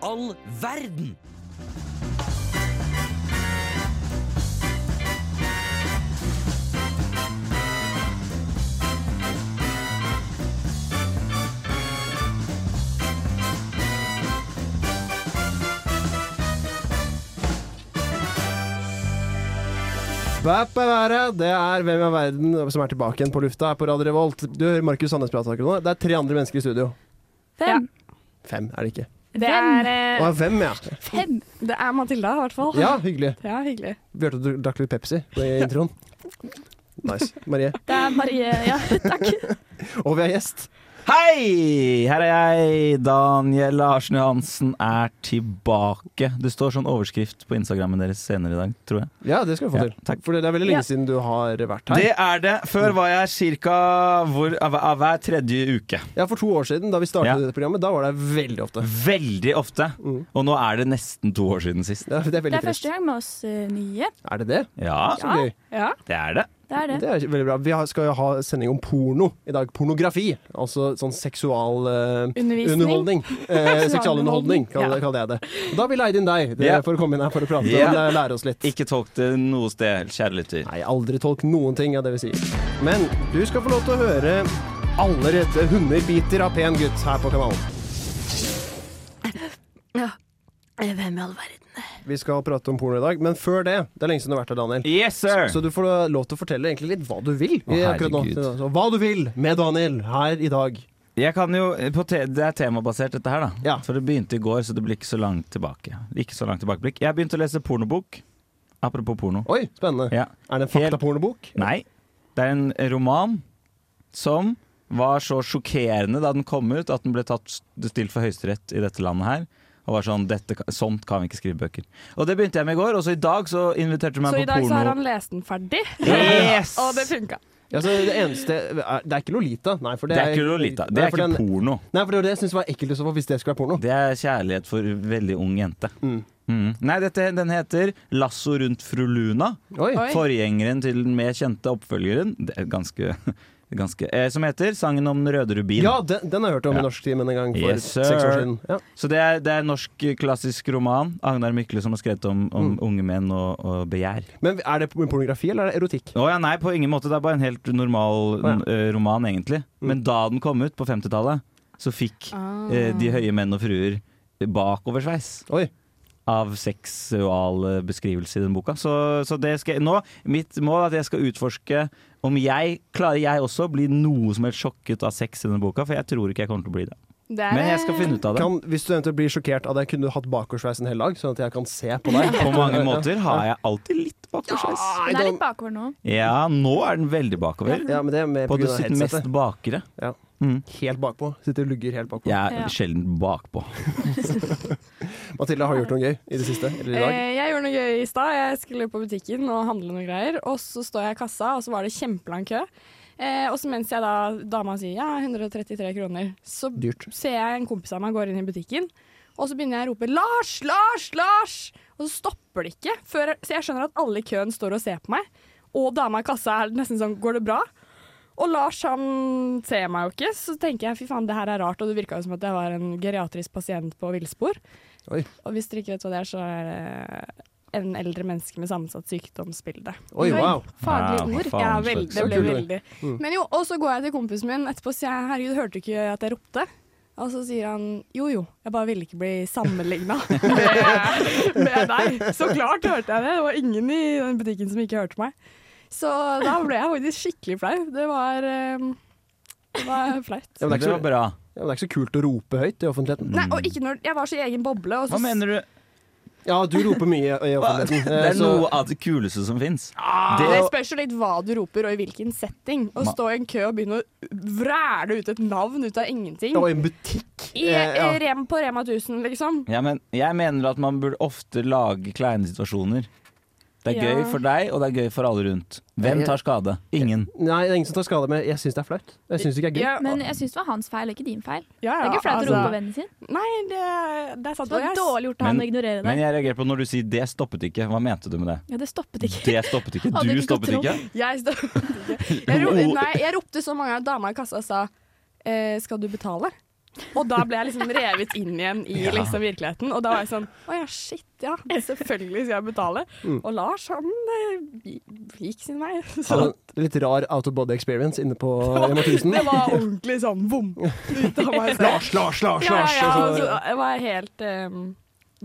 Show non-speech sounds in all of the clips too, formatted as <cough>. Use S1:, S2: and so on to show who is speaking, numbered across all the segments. S1: all verden?
S2: Bæ-bæ-bæ-bæ, Det er Hvem er verden som er tilbake igjen på lufta her på Radio Revolt. Du hører Markus Sandnes prate akkurat nå. Det er tre andre mennesker i studio.
S3: Fem.
S2: Fem er det ikke.
S4: Det er,
S2: Å,
S4: eh,
S2: hvem, ja.
S3: Fem.
S4: det er Matilda, i hvert fall.
S2: Ja, hyggelig.
S4: Ja, hyggelig.
S2: Bjarte du drakk litt Pepsi på introen. Nice. Marie.
S3: Det er Marie.
S5: <laughs>
S3: Ja, takk.
S2: Og vi har gjest.
S5: Hei! Her er jeg. Daniel Larsen Johansen er tilbake. Det står sånn overskrift på Instagrammen deres senere i dag, tror jeg.
S2: Ja, det skal vi få
S5: Ja,
S2: til.
S5: takk.
S2: For det er veldig
S4: Ja.
S2: lenge siden du har vært her.
S5: Det er det. Før var jeg ca. hver tredje uke.
S2: Ja, For to år siden, da vi startet
S5: Ja.
S2: dette programmet, da var det veldig ofte.
S5: Veldig ofte.
S2: Mm.
S5: Og nå er det nesten to år siden sist.
S2: Ja, det er
S3: Det
S2: veldig
S3: er første
S2: trist.
S3: gang med oss eh, nye.
S2: Er det det?
S5: Ja,
S2: Så gøy.
S4: Ja.
S5: det er det.
S3: Det er det.
S2: Det er veldig bra. Vi har- skal jo ha sending om porno i dag. Pornografi. Altså sånn seksual... eh,
S4: Undervisning.
S2: Underholdning. Eh, Seksualunderholdning,
S4: Seksualunderholdning,
S2: kaller,
S4: ja.
S2: kaller jeg det. Og Da har vi leid inn deg det,
S5: Ja.
S2: for å komme inn her for å prate
S5: Ja.
S2: og lære- lære oss litt.
S5: Ikke tolk det noe sted, kjære lytter.
S2: Nei, aldri tolk noen ting av det vi sier. Men du skal få lov til å høre alle rette hunder biter av pen gutt her på kanalen.
S3: Eh, Hvem i all verden?
S2: Vi skal prate om porno i dag, men før det Det er lenge siden du har vært her, Daniel.
S5: Yes, sir!
S2: Så du får lov til å fortelle egentlig litt hva du vil.
S5: Å,
S2: akkurat nå.
S5: herregud.
S2: Så Hva du vil med Daniel her i dag.
S5: Jeg kan jo, eh, på te Det er temabasert, dette her. da
S2: Ja.
S5: For det begynte i går, så det blir ikke så langt tilbake. Ikke så langt tilbakeblikk Jeg begynte å lese pornobok. Apropos porno.
S2: Oi, spennende.
S5: Ja.
S2: Er det en
S5: Helt-
S2: faktapornobok?
S5: Nei, det er en roman som var så sjokkerende da den kom ut, at den ble tatt stilt for høyesterett i dette landet her. Og var sånn dette, kan- Sånt kan vi ikke skrive bøker. Og det begynte jeg med i går, og så i dag så inviterte du meg
S4: Så
S5: på
S4: i dag så har
S5: porno.
S4: han lest den ferdig,
S5: Yes!
S4: <laughs> og det funka.
S2: Ja, så det eneste er, Det er ikke Lolita. Nei, for
S5: Det
S2: det,
S5: er ikke Lolita. Det
S2: Nei,
S5: er
S2: for den-
S5: ikke porno.
S2: Nei, for det var det jeg syntes var ekkelt i så fall, hvis det skulle være porno.
S5: Det er kjærlighet for veldig ung jente.
S2: Mm.
S5: Mm. Nei, dette, den heter 'Lasso rundt fru Luna'.
S2: Oi.
S4: Oi.
S5: Forgjengeren til den mer kjente oppfølgeren, det er ganske, <laughs> ganske eh, som heter 'Sangen om den røde rubin'.
S2: Ja, den, den har jeg hørt om
S5: Ja.
S2: i norsktimen en gang for
S5: Yes, sir.
S2: seks år siden. Ja.
S5: Så det er, det er en norsk eh, klassisk roman. Agnar Mykle som har skrevet om, om
S2: Mm.
S5: unge menn og, og begjær.
S2: Men er det pornografi eller er det erotikk?
S5: Å ja, nei, på ingen måte. Det er bare en helt normal
S2: Å ja.
S5: eh, roman, egentlig.
S2: Mm. Ah.
S5: Men da den kom ut, på 50-tallet, så fikk
S3: Ah,
S5: eh, de høye menn og fruer bakoversveis
S2: Oi.
S5: av seksualbeskrivelse i den boka. Så, så det skal jeg, nå, mitt mål er at jeg skal utforske om jeg klarer jeg også å bli noe som helst sjokket av sex i denne boka, for jeg tror ikke jeg kommer til å bli det.
S4: Det er,
S5: Men jeg skal finne ut av det.
S2: Kan, hvis du eventuelt blir sjokkert av det, kunne du hatt bakoversveis en hel dag? Sånn at jeg kan se på deg?
S5: På mange måter har jeg alltid litt bakoversveis.
S2: Nei,
S3: Den er litt
S2: da-
S3: bakover nå.
S5: Ja, nå er den veldig bakover.
S2: Ja, men det er med
S5: På
S2: på
S5: det
S2: grunn av
S5: sitt mest
S2: headsetet.
S5: bakre.
S2: Ja.
S5: Mm.
S2: Helt bakpå. Sitter og lugger helt bakpå.
S5: Jeg er
S3: Ja.
S5: sjelden bakpå.
S2: Mathilde, har du gjort noe gøy i det siste? Eller i dag?
S4: Eh, jeg gjorde noe gøy i stad. Jeg skulle på butikken og handle noe greier. Og så står jeg i kassa, og så var det kjempelang kø. Eh, og så mens jeg da, dama sier ja, 133 kroner, så
S2: Dyrt.
S4: ser jeg en kompis av meg går inn i butikken. Og så begynner jeg å rope 'Lars, Lars, Lars!' Og så stopper det ikke. Før, så jeg skjønner at alle i køen står og ser på meg. Og dama i kassa er nesten sånn 'Går det bra?' Og Lars han ser meg jo ikke, så tenker jeg fy faen, det her er rart. Og det virka jo som at jeg var en geriatrisk pasient på villspor.
S2: Oi.
S4: Og hvis dere ikke vet hva det er, så er det en eldre menneske med sammensatt sykdomsbilde.
S2: Oi, wow.
S3: Faglige
S5: Wow,
S3: ord.
S5: faen,
S4: Ja, veldig, det
S5: slags-
S2: Kult
S4: ble
S2: ord.
S4: veldig. Men jo, og så går jeg til kompisen min etterpå og sier jeg, herregud, hørte du ikke at jeg ropte? Og så sier han jo jo, jeg bare ville ikke bli sammenligna med, med deg. Så klart hørte jeg det. Det var ingen i den butikken som ikke hørte meg. Så da ble jeg faktisk skikkelig flau. Det var, eh, det var flaut.
S2: Ja, men det, er
S5: Det var
S2: ikke så,
S5: bra.
S2: ja, men det er ikke så kult å rope høyt i offentligheten.
S4: Nei, og ikke når Jeg var så i egen boble. Og så
S5: Hva mener du?
S2: Ja, du roper mye i offentligheten.
S5: Det
S2: Eh,
S5: er
S2: så- Ah,
S5: noe av det kuleste som fins.
S4: Det,
S5: Det,
S4: spørs jo litt hva du roper og i hvilken setting. Å
S5: Ma-
S4: stå i en kø og begynne å vræle ut et navn ut av ingenting.
S2: Og i en butikk.
S4: I,
S2: Eh, ja.
S4: i rem på Rema 1000, liksom.
S5: ja, men jeg mener at man burde ofte lage kleine situasjoner. Det er
S4: Ja.
S5: gøy for deg, og det er gøy for alle rundt. Hvem tar skade? Ingen.
S2: Nei, det er ingen som tar skade, men jeg syns det er flaut. Jeg syns ikke det er gøy.
S4: Ja,
S3: Men jeg syns det var hans feil, og ikke din feil.
S4: ja,
S3: Det
S4: ja,
S3: er ikke flaut å
S4: altså.
S3: rope på vennen sin.
S4: Nei, det, det er sant.
S3: Det var
S4: dårlig.
S3: dårlig gjort av han
S5: Men-
S3: å ignorere
S5: Men
S3: deg.
S5: jeg reagerer på når du sier 'det stoppet ikke'. Hva mente du med det?
S3: Ja, det stoppet <laughs> ikke.
S5: Det stoppet ikke.
S3: Hadde
S5: Du
S3: ikke
S5: stoppet
S3: kontroll.
S5: ikke?
S4: Jeg, sto- <laughs> jeg, ro, nei, jeg ropte så mange ganger at dama i kassa sa eh, 'skal du betale'? Og da ble jeg liksom revet inn igjen
S2: <laughs>
S4: i
S5: Ja.
S4: liksom virkeligheten. Og da var jeg sånn Å ja, shit,
S3: <laughs>
S4: ja. Selvfølgelig skal jeg betale.
S2: Mm.
S4: Og Lars, han eh, gikk sin vei. <laughs> Så
S2: Hadde en litt rar out of body experience inne på Rema 1000.
S4: det var ordentlig sånn vom ut av meg selv.
S2: Lars, Lars, Lars!
S4: <laughs> Ja,
S2: Lars
S4: ja,
S2: og så-
S4: altså, det var helt eh,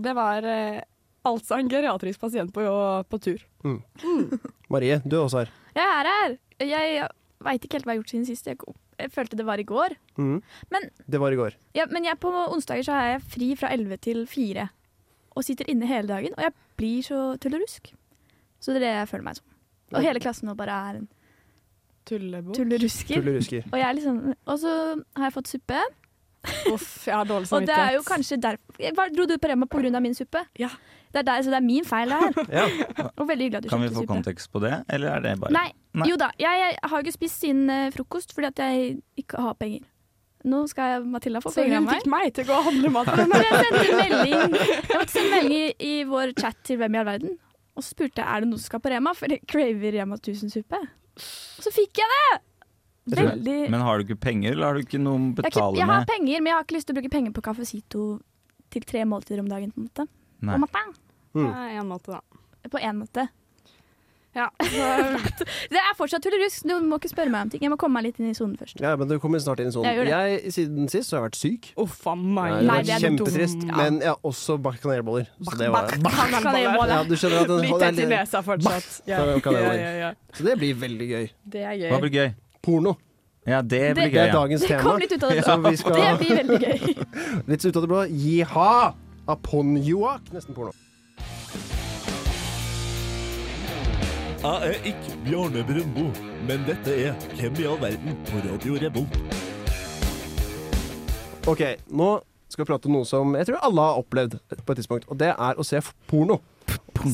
S4: Det var eh, altså en geriatrisk pasient på, på tur.
S2: Marie, du er også her.
S3: Jeg er her. Jeg veit ikke helt hva jeg har gjort siden sist. Jeg, kom- jeg følte det var i går.
S2: Mhm.
S3: Men-
S2: det var i går.
S3: Ja, men jeg på onsdager så er jeg fri fra 11 til 4. Og sitter inne hele dagen. Og jeg blir så tullerusk. Så det er det jeg føler meg som. Og hele klassen nå bare er en
S4: Tullebok.
S3: tullerusker.
S2: Tullerusker.
S3: Og jeg er liksom, og så har jeg fått suppe,
S4: Uff, jeg har dårlig
S3: og det
S4: samvittighet.
S3: er jo kanskje derfor Hva Dro du på Rema pga. min suppe?
S4: Ja.
S3: Det er der, så det er min feil, det her.
S2: Ja.
S3: Og veldig hyggelig at du
S5: Kan vi
S3: kjøpte
S5: få
S3: suppe.
S5: kontekst på det, eller er det bare
S3: Nei,
S5: Nei.
S3: Jo da, jeg, jeg har jo ikke spist siden eh, frokost fordi at jeg ikke har penger. Nå skal jeg, Matilda få
S4: Så
S3: penger av
S4: hun
S3: meg.
S4: fikk meg til å gå og handle
S3: <laughs>
S4: mat.
S3: Så jeg sendte en melding Jeg måtte sende en melding i, i vår chat til Hvem i all verden. Og så spurte jeg er det noen som skal på Rema, for jeg craver Rema 1000-suppe. Og så fikk jeg det!
S2: Jeg tror-
S3: Veldig
S5: Men har du ikke penger, eller har du ikke noe å
S3: jeg, har ikke,
S5: betale
S3: jeg har
S5: med?
S3: penger, men jeg har ikke lyst til å bruke penger på Cafecito til tre måltider om dagen. På en måte.
S5: Nei.
S3: På en måte.
S4: Det
S2: Mm.
S4: er en måte, da.
S3: På en måte.
S4: Ja, så <laughs>
S3: Det er fortsatt tullerusk, du må ikke spørre meg om ting. Jeg må komme meg litt inn i sonen først.
S2: ja, men du kommer snart inn i sonen.
S3: Jeg gjør det.
S2: Jeg, siden sist så har jeg vært syk.
S4: Uff a
S2: Jeg har
S4: meg.
S3: Nei,
S2: vært
S3: det er
S2: kjempetrist.
S4: dumt.
S2: Men jeg har også bakt kanelboller. Så det, var,
S4: Kanelboller.
S2: ja, du skjønner at det,
S4: Litt
S2: det,
S4: etter
S2: er-
S4: nesa fortsatt. Ja,
S2: Bak.
S4: ja, ja, ja.
S2: så det blir veldig gøy.
S4: Det er
S5: Hva
S4: gøy.
S5: blir gøy?
S2: Porno.
S5: Ja, det blir
S3: Det-
S2: Det
S5: gøy.
S2: er
S5: Ja.
S2: dagens
S3: Det
S2: tema.
S3: kom litt ut
S5: <laughs>
S3: av det
S2: Så
S3: blå.
S2: vi
S3: Det
S2: skal
S3: blir veldig gøy.
S2: litt ut av det blå. Jiha! Aponjoak. Nesten porno.
S1: Jeg er ikke Bjarne Brøndbo, men dette er Hvem i all verden på Radio Revolt.
S2: Ok, nå skal vi prate om noe som jeg tror alle har opplevd på et tidspunkt, og det er å se f- porno.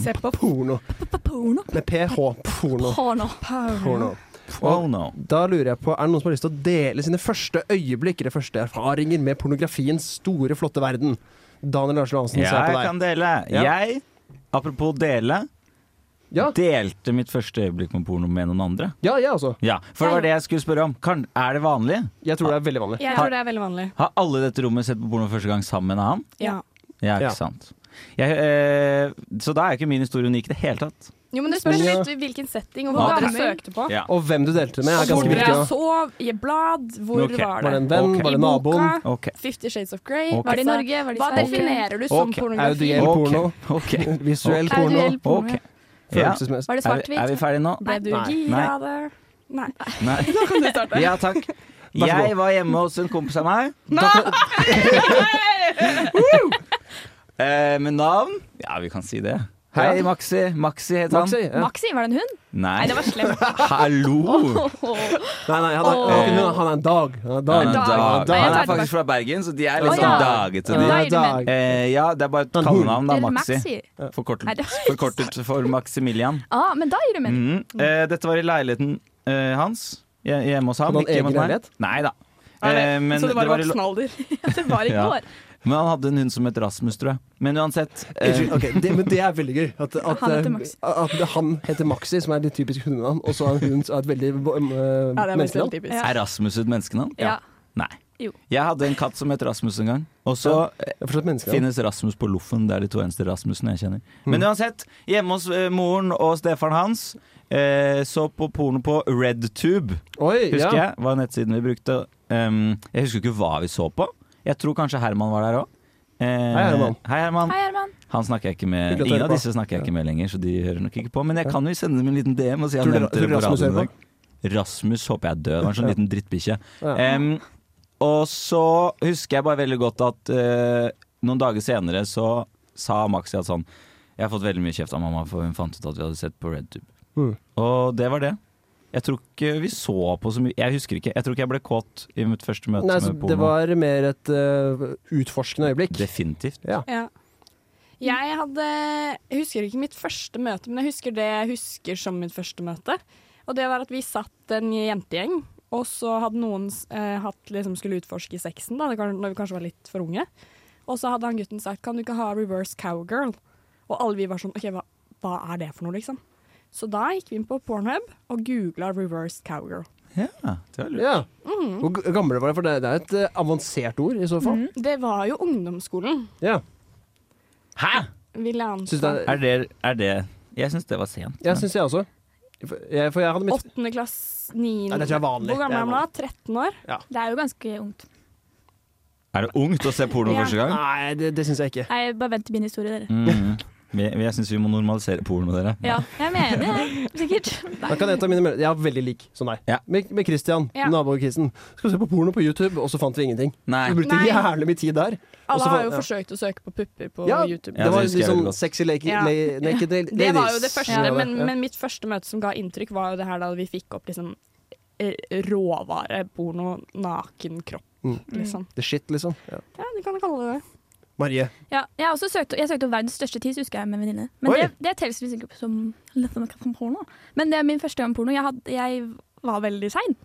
S4: Se på
S2: Porno.
S3: Porno.
S2: Med ph. Porno.
S3: Porno.
S2: porno.
S5: Oh, no.
S2: Da lurer jeg på, er det noen som har lyst til å dele sine første øyeblikk eller første erfaringer med pornografiens store, flotte verden? Daniel Larsen Johansen, ser jeg
S5: Jeg
S2: på deg.
S5: kan dele.
S2: Ja.
S5: Jeg, apropos dele,
S2: Ja,
S5: delte mitt første øyeblikk med porno med noen andre.
S2: ja, jeg også.
S5: Ja, For det var det jeg skulle spørre om. Kan, er det vanlig?
S2: Jeg tror det er veldig vanlig.
S4: Jeg tror det er veldig vanlig.
S5: Har alle i dette rommet sett på porno første gang sammen med en annen?
S4: Ja.
S5: Ja, ikke
S2: Ja.
S5: sant. Jeg, eh, så da er jo ikke min historie unik i det hele tatt.
S4: Jo, men det
S2: spørs
S4: spørs
S2: Ja.
S4: litt hvilken setting og
S5: hvor
S4: hva
S5: Ja.
S4: dere
S5: dere
S4: søkte på.
S5: Ja.
S2: Og hvem du delte det med, er
S4: Hvor
S2: ganske
S4: dere
S2: viktig. da.
S4: sov, i blad, hvor
S5: Ok.
S2: Var
S4: var
S2: det
S4: det?
S2: en venn?
S5: Ok.
S2: Var det
S4: I
S2: naboen?
S4: boka?
S5: Ok.
S4: Fifty Shades of Grey?
S5: Ok.
S3: Var det i Norge? Var det i
S4: Hva
S3: Sverige?
S4: definerer du som
S5: Ok.
S4: pornografi?
S2: Audiell porno.
S5: Ok.
S2: Visuell
S5: Ok.
S2: porno.
S3: Audiell porno,
S5: Ok.
S3: ja.
S5: Ja.
S2: Følelsesmessig.
S3: Var det
S5: Er vi, er vi
S3: svart-hvitt?
S5: ferdige nå?
S4: Ble du
S2: Nei.
S4: gira av det? Nei.
S5: Nei.
S4: Kan du starte?
S5: Ja takk.
S2: god.
S5: Jeg var hjemme hos en kompis av meg. Eh, med navn? Ja, vi kan si det. Hei,
S2: Ja.
S5: Maxi. Maxi het han.
S2: Maxi? Ja.
S3: Maxi, var det en hund?
S5: Nei,
S3: Nei, det var <laughs> slemt.
S5: <laughs> hallo!
S2: Nei, nei, han er, han er ikke noe, han er en dag. Han er en dag.
S5: Han er,
S4: Dag.
S5: dag.
S2: Nei, jeg
S5: han
S2: tar
S5: er
S2: det
S5: faktisk fra Bergen, så de er
S2: Å,
S5: litt
S2: ja.
S5: sånn dagete, de.
S3: Ja.
S2: Han er en dag.
S5: Eh, ja, det er bare et
S2: Han-
S5: kallenavn, da.
S3: Eller
S5: Maxi.
S3: Nei,
S5: Forkortet,
S3: det var-
S5: forkortet for Maximilian.
S3: Ah, men da gir det mening.
S5: Mm. Eh, dette var i leiligheten eh, hans. hje- Hjemme hos ham.
S2: Hadde han
S5: ikke hjemme
S2: egen
S5: hos meg.
S2: leilighet?
S5: Nei da.
S4: Er det,
S5: Eh, men,
S4: så det
S5: i
S4: var
S5: lo-
S4: voksen alder?
S3: Det var i
S5: Ja.
S3: går.
S5: men han hadde en hund som het Rasmus, tror jeg. Men uansett eh,
S2: Unnskyld, ok, det, men det er veldig gøy. At, at,
S3: Han heter
S2: eh,
S3: Maxi.
S2: at det- han heter Maxi, som er litt typisk hundenavn, og så er hun som er et veldig uh,
S4: Ja, det er veldig
S2: menneskenavn.
S4: typisk.
S5: Er Rasmus et menneskenavn?
S3: Ja.
S5: Nei.
S3: Jo.
S5: Jeg hadde en katt som het Rasmus en gang. Og så eh,
S2: Det er fortsatt menneskenavn.
S5: finnes Rasmus på Loffen. Det er de to eneste Rasmusene jeg kjenner.
S2: Mm.
S5: Men uansett, hjemme hos eh, moren og stefaren hans eh, så på porno på RedTube,
S2: Oi,
S5: husker
S2: ja.
S5: jeg. Var nettsiden vi brukte. Um, jeg husker ikke hva vi så på. Jeg tror kanskje Herman var der òg.
S2: Hei, Herman.
S5: Hei, Herman.
S3: Hei, Herman.
S5: Han snakker jeg ikke
S2: Hyggelig
S5: med
S2: at du
S5: Ingen
S2: hører
S5: av
S2: på.
S5: disse snakker jeg ikke med lenger, så de hører nok ikke på. Men jeg kan jo sende dem en liten DM og si at
S2: Tror
S5: jeg
S2: du-
S5: nevnte
S2: tror du
S5: det på
S2: Rasmus
S5: radioen i
S2: hører
S5: dag. Rasmus håper jeg er død. Det var en sånn
S2: Ja.
S5: liten drittbikkje.
S2: Ja.
S5: Em, og så husker jeg bare veldig godt at eh, noen dager senere så sa Maxi at sånn Jeg har fått veldig mye kjeft av mamma, for hun fant ut at vi hadde sett på RedTube.
S2: Mm.
S5: Og det var det. Jeg tror ikke vi så på så mye Jeg husker ikke. Jeg tror ikke jeg ble kåt i mitt første møte
S2: Nei, så
S5: med
S2: det
S5: porno.
S2: var mer et eh, utforskende øyeblikk.
S5: Definitivt.
S2: Ja.
S4: Ja. Jeg hadde Jeg husker ikke mitt første møte, men jeg husker det jeg husker som mitt første møte. Og det var at vi satt en jentegjeng, og så hadde noen eh, hatt liksom skulle utforske sexen, da, det kan- når vi kanskje var litt for unge. Og så hadde han gutten sagt 'Kan du ikke ha reverse cowgirl?' Og alle vi var sånn 'OK, hva, hva er det for noe', liksom? Så da gikk vi inn på Pornhub og googla 'reverse cowgirl'.
S5: Ja, det var lurt.
S2: Ja.
S4: Mm.
S2: Hvor g- gamle var det? For det, det er et eh, avansert ord, i så fall.
S3: Mm.
S4: Det var jo ungdomsskolen,
S2: Ja.
S5: Hæ?!
S4: vil jeg
S2: Syns du
S4: anta.
S2: det er,
S5: Er det, er det Jeg syns det var sent.
S2: ja, syns jeg også. For jeg, for jeg hadde mitt
S4: Åttende klass, niende
S2: Nei, det tror jeg er vanlig.
S4: Hvor gammel
S2: Det er
S4: er man da? 13 år?
S3: Det er jo ganske ungt.
S5: Er det ungt å se porno
S4: Ja.
S5: første gang?
S2: Nei, det, det syns jeg ikke.
S3: Nei, bare vent til min historie, dere.
S5: Mm. Jeg, jeg syns vi må normalisere porno, dere.
S3: Ja, jeg mener det,
S5: <laughs>
S3: sikkert.
S2: Da kan jeg ta mine meld- Jeg er veldig lik som deg.
S5: Ja.
S2: Med, med Christian,
S3: Ja.
S2: nabokristen. Skal vi se på porno på YouTube, og så fant vi ingenting.
S5: Nei.
S2: Vi brukte
S4: Nei.
S2: jævlig mye tid der. Og så
S4: Alle
S2: fa-
S4: har jo
S2: ja.
S4: forsøkt å søke på pupper på
S2: Ja,
S4: YouTube.
S5: Ja,
S2: det var
S5: det husker jeg
S2: liksom
S5: veldig godt.
S2: sexy lake,
S4: Ja.
S2: la- naked la- ladies.
S4: Det var jo det første,
S2: Ja.
S4: men,
S2: Ja.
S4: men mitt første møte som ga inntrykk, var jo det her da vi fikk opp liksom eh, råvare, porno, naken kropp,
S2: Mm.
S4: liksom.
S2: The shit, liksom. Ja.
S4: Mm. Ja, du kan kalle det det.
S2: Marie.
S3: Ja, jeg har også søkt, jeg søkte opp verdens største tiss, husker jeg, med en venninne. Men
S2: Oi.
S3: det, det telles visst ikke som som porno. Men det er min første gang porno. Jeg, hadde, jeg var veldig sein.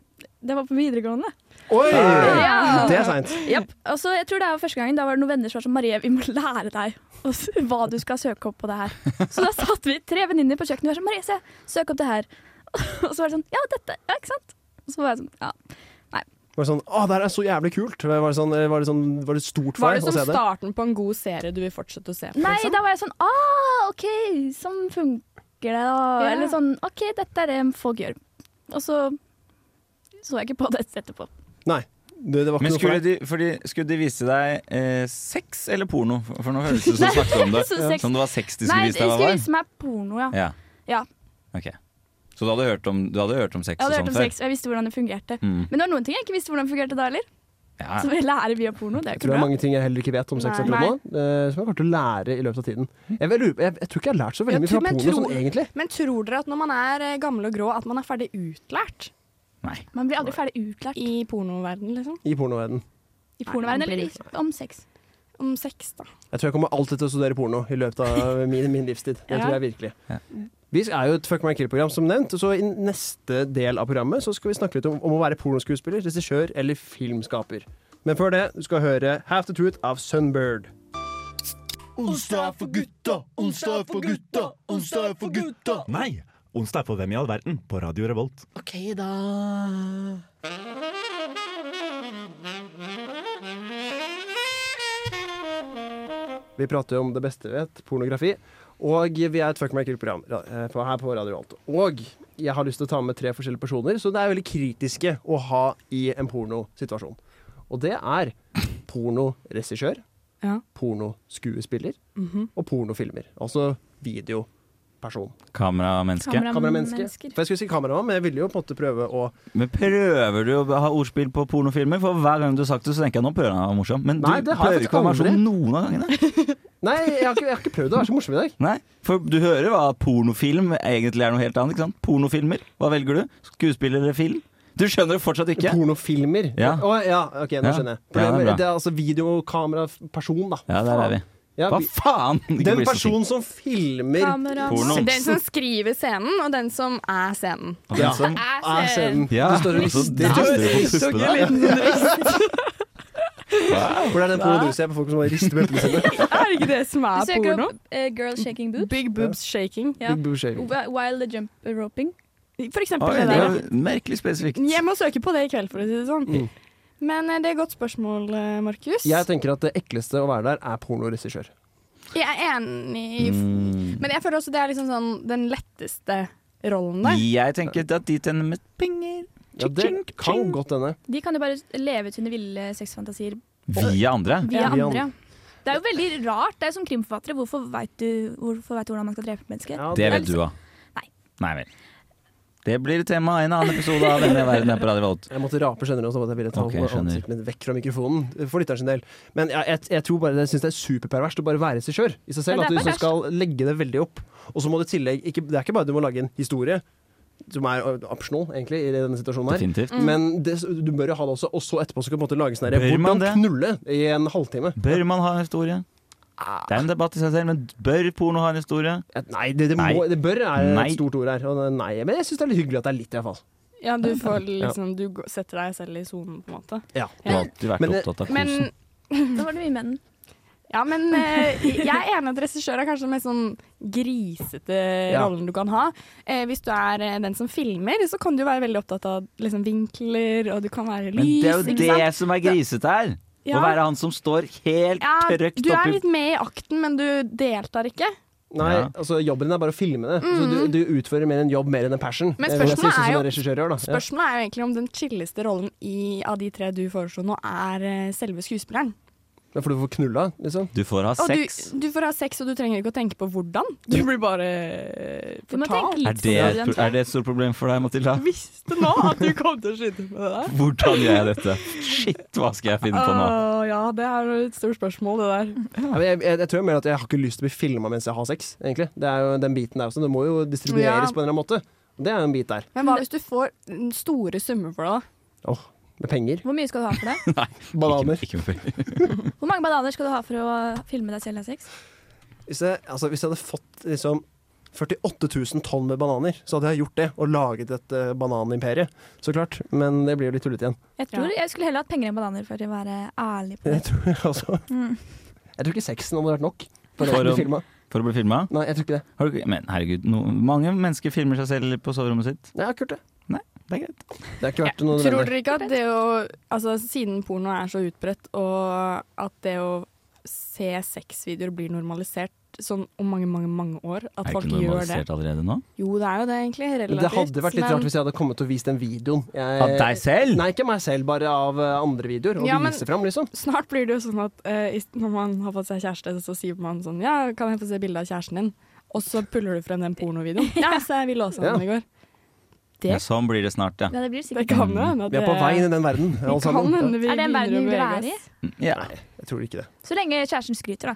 S3: Det var på videregående.
S2: Oi!
S3: Ja.
S2: Det er seint.
S3: Japp. Og så, jeg tror det var første gangen, da var det noen venner som var sånn Marie, vi må lære deg å s- hva du skal søke opp på det her. Så da satt vi tre venninner på kjøkkenet og var sånn Marie, se, søk opp det her. Og så var det sånn Ja, dette. Ja, ikke sant? Og så var jeg sånn Ja.
S2: Var det sånn Å, det her er så jævlig kult. Var det, sånn, var det, sånn, var det stort for
S4: Var det
S2: deg å
S4: som
S2: se det?
S4: starten på en god serie du vil fortsette å se på?
S3: Nei,
S4: liksom?
S3: da var jeg sånn Ah, OK, sånn funker det, da.
S4: Ja.
S3: Eller sånn OK, dette er det folk gjør. Og så så jeg ikke på det etterpå.
S5: Sånn
S2: Det, det var ikke
S5: Men
S2: noe for
S5: skulle
S2: deg.
S5: de, fordi, skulle de vise deg eh, sex eller porno? For nå høres det ut som du snakket om det.
S3: <laughs> Så sex-
S5: Som det var sex sånn de
S3: Nei,
S5: skulle
S3: de
S5: vise deg hva
S3: skulle
S5: var?
S3: vise meg porno, ja.
S5: Ja.
S3: Ja.
S5: Ok. Så du hadde hørt om, du hadde hørt om sex
S3: Jeg hadde
S5: og
S3: hørt om
S5: sånt
S3: sex, og jeg visste hvordan det fungerte.
S5: Mm.
S3: Men det var noen ting jeg ikke visste hvordan det fungerte da heller.
S5: Ja.
S3: Så vi lærer via porno. Det er
S2: Jeg tror
S3: jo ikke
S2: det er
S3: bra.
S2: mange ting jeg heller ikke vet om sex
S4: Nei.
S2: akkurat nå, eh, som jeg kommer til å lære i løpet av tiden. Jeg, vil, lure- jeg, jeg tror ikke jeg har lært så
S4: Jeg
S2: veldig mye
S4: tror-
S2: fra
S4: men
S2: porno
S4: tror-
S2: sånn egentlig.
S4: Men tror dere at når man er eh, gammel og grå, at man er ferdig utlært
S5: Nei.
S3: Man blir aldri ferdig utlært
S4: i pornoverdenen, liksom?
S2: I pornoverdenen.
S3: i pornoverdenen
S4: Nei, man
S3: eller
S4: blir
S3: i- om sex.
S4: Om sex, da.
S2: Jeg tror jeg kommer alltid til å studere porno i løpet av min, min livstid. Det
S4: Ja.
S2: tror jeg virkelig.
S5: Ja.
S2: Vi er jo et Fuck my kill-program, som nevnt. Så i neste del av programmet så skal vi snakke litt om, om å være pornoskuespiller, regissør eller filmskaper. Men før det, du skal høre Half the Truth av Sunbird.
S1: Onsdag er for gutta, onsdag er for gutta, onsdag er for gutta. Nei, onsdag er for hvem i all verden på Radio Revolt.
S2: Vi prater jo om det beste vi vet, pornografi. Og vi er et Fuck my kill-program eh, på- her på Radio Alto. Og jeg har lyst til å ta med tre forskjellige personer, så det er veldig kritiske å ha i en pornosituasjon. Og det er pornoregissør,
S4: Ja.
S2: pornoskuespiller og pornofilmer. Altså videoperson.
S5: Kameramenneske.
S2: Kameramenneske.
S3: Kameramennesker.
S2: For jeg skulle si kameramann, men jeg ville jo på en måte prøve å
S5: Men prøver du å ha ordspill på pornofilmer? For hver gang du har sagt det, så tenker jeg nå prøver han å være morsom. Men
S2: Nei,
S5: du
S2: det har jeg
S5: prøver ikke å være
S2: faktisk
S5: sånn noen av gangene.
S2: Nei, jeg har ikke, jeg har ikke prøvd å være så morsom
S5: <laughs>
S2: i dag.
S5: Nei, for du hører hva pornofilm egentlig er noe helt annet, ikke sant? Pornofilmer, hva velger du? Skuespiller eller film? Du skjønner det fortsatt ikke?
S2: Pornofilmer.
S5: Ja.
S2: Å, ja, OK, nå
S5: Ja.
S2: skjønner jeg.
S5: Ja, det er
S2: Problemet,
S5: bra.
S2: det, er altså videokameraperson, da.
S5: Ja, der er vi.
S2: Ja,
S5: Hva
S2: vi-
S5: faen? Ikke
S2: Den
S5: bli så sint.
S2: personen som filmer
S3: Kamera.
S5: Porno.
S4: Den som skriver scenen, og den som er scenen.
S5: Og
S2: Ja.
S5: den som-
S2: er scenen.
S5: Ja,
S2: Du står og
S5: så rister
S2: rister.
S5: du på
S2: Så
S5: puppene.
S2: gøy.
S4: <laughs>
S2: Hvor er den pornoen du ser på folk som rister på puppene sine?
S4: Er det ikke det som
S3: Du
S4: er
S3: søker
S4: porno?
S3: opp eh, girl shaking boob.
S4: Big boobs shaking.
S3: Ja.
S2: <laughs> Big boob shaving.
S3: Wi- While the jump roping.
S4: For eksempel
S5: Oi,
S4: det
S5: det
S4: der.
S5: er merkelig spesifikt.
S4: Jeg må søke på det i kveld, for å si det sånn.
S2: Mm.
S4: Men eh, det er et godt spørsmål, eh, Markus.
S2: Jeg tenker at det ekleste å være der er pornoregissør.
S4: Jeg er enig i
S5: Mm.
S4: Men jeg føler også det er liksom sånn den letteste rollen der.
S5: Jeg tenker at de tjener med penger
S2: Ja, det kan godt hende.
S3: De kan jo bare leve ut sine ville sexfantasier
S5: via andre.
S3: via
S2: Ja.
S3: andre. ja. Det er jo veldig rart. Det er jo som krimforfattere. Hvorfor vet du, hvorfor vet du hvordan man skal drepe mennesker?
S2: Ja,
S5: Det
S2: det,
S5: vet du òg.
S3: Nei.
S5: Nei vel. Det blir et tema i en annen episode av Hvem i verden er på Radio Volt.
S2: jeg måtte rape skjønner du, sånn at jeg ville ta
S5: Ok, jeg skjønner.
S2: ansiktet mitt vekk fra mikrofonen. eh, For lytteren sin del. Men jeg, jeg, jeg tror bare det, jeg synes det er superperverst å bare være regissør i seg selv.
S3: Ja,
S2: At
S3: det er
S2: du liksom skal legge det veldig opp. Og så må du i tillegg ikke, Det er ikke bare du må lage en historie, som er optional, egentlig, i denne situasjonen her.
S5: Definitivt.
S3: Mm.
S2: Men det, du bør jo ha det også, og så etterpå så kan du på en måte lage sånn der,
S5: Bør man
S2: Hvordan
S5: det?
S2: knulle i en halvtime?
S5: Bør man ha en historie?
S4: Ah.
S5: Det er en debatt i seg selv, men bør porno ha en historie?
S2: Et- Nei, det, det,
S5: Nei.
S2: Må, det bør er
S5: Nei.
S2: et stort ord her. Og det- Nei, men jeg syns det er litt hyggelig at det er litt, iallfall.
S4: Ja, du får liksom Du g- setter deg selv i sonen, på en måte.
S2: Ja.
S4: eh,
S5: Du har alltid vært
S2: Men det-
S5: opptatt av kosen.
S4: Men
S3: Da var det mye menn.
S4: Ja, men eh, jeg er enig at regissør er kanskje den mest sånn grisete
S2: Ja.
S4: rollen du kan ha. Eh, hvis du er eh, den som filmer, så kan du være veldig opptatt av liksom, vinkler, og du kan være
S5: Men
S4: lys.
S5: det er jo
S4: ikke
S5: det
S4: sant?
S5: som er grisete her. Å
S4: Ja.
S5: være han som står helt
S4: ja,
S5: trøkt
S4: Du er
S5: oppi
S4: litt med i akten, men du deltar ikke.
S2: Nei,
S5: Ja.
S2: altså jobben din er bare å filme det. Så du, du utfører mer en jobb mer enn en passion.
S4: Mm. Men
S2: eh, vil jeg si,
S4: spørsmålet
S2: sånn
S4: er
S2: som
S4: jo-
S2: en regissør gjør, da. Ja.
S4: Spørsmålet er jo egentlig om den chilleste rollen i, av de tre du foreslo nå, er eh, selve skuespilleren.
S2: Ja, For du får knulla, liksom.
S5: Du får ha
S4: Og du,
S5: sex.
S4: du får ha sex, og du trenger ikke å tenke på hvordan. Du blir bare eh,
S3: Du må tenke
S4: fortalt.
S5: Er
S3: litt
S5: det,
S3: på
S5: et
S3: den
S5: pro- er det et stort problem for deg, Matilda?
S4: Visste nå at du kom til å skyte med det der.
S5: Hvordan gjør jeg dette? Shit, hva skal jeg finne på nå?
S4: Åh, ja, det er jo et stort spørsmål, det der.
S2: Ja, men jeg, jeg, jeg tror mer at jeg har ikke lyst til å bli filma mens jeg har sex, egentlig. Det er jo den biten der også. Det må jo distribueres
S4: Ja.
S2: på en eller annen måte. Det er jo en bit der.
S4: Men hva hvis du får mm, store summer for det, da?
S2: Åh, med penger.
S3: Hvor mye skal du ha for det?
S2: Bananer.
S5: Ikke, ikke med
S3: Hvor mange bananer skal du ha for å filme deg selv ha sex?
S2: Hvis jeg, altså, hvis jeg hadde fått liksom 48 000 tonn med bananer, så hadde jeg gjort det. Og laget et eh, bananimperie, så klart. Men det blir jo litt tullete igjen. <laughs>
S3: Jeg tror jeg skulle heller hatt penger enn bananer, for å være ærlig på det. Mm.
S2: Jeg tror, altså. jeg tror ikke sexen hadde vært nok. For,
S5: For
S2: å bli
S5: å-
S2: filmet.
S5: For å bli filma?
S2: Nei, jeg tror ikke det.
S5: Men herregud, no, mange mennesker filmer seg selv på soverommet sitt.
S2: Nei, akkurat det.
S5: Det er greit.
S2: Det har ikke vært noe
S4: Tror
S2: nødvendig.
S4: dere ikke at det å Altså, siden porno er så utbredt, og at det å se sexvideoer blir normalisert sånn om mange, mange mange år, at
S5: Er det
S4: folk
S5: ikke
S4: gjør det
S5: normalisert allerede nå?
S4: Jo, det er jo det, egentlig. Relativt.
S2: Det hadde vært litt
S4: men-
S2: rart hvis jeg hadde kommet og vist den videoen. Jeg,
S5: Av deg selv?
S2: Nei, ikke meg selv, bare av eh, andre videoer. Og
S4: Ja, men-
S2: vise fram, liksom.
S4: Snart blir det jo sånn at eh, i- når man har fått seg kjæreste, så sier man sånn Ja, kan jeg få se bilde av kjæresten din? Og så puller du frem den
S3: <laughs>
S4: pornovideoen. Ja, så jeg ville også ha den i går. Det-
S5: Ja, sånn blir det snart, ja.
S3: Ja, det blir det
S4: Det
S3: sikkert.
S4: kan jo hende at
S2: Vi er på
S4: det-
S2: vei inn i den verden, alle
S4: Vi kan
S2: sammen.
S4: hende vi
S3: Er det en
S4: begynner
S3: verden
S4: å
S3: vi vil
S4: bevege
S3: være i?
S4: oss.
S5: ja.
S2: Jeg tror ikke det.
S3: Så lenge kjæresten skryter, da.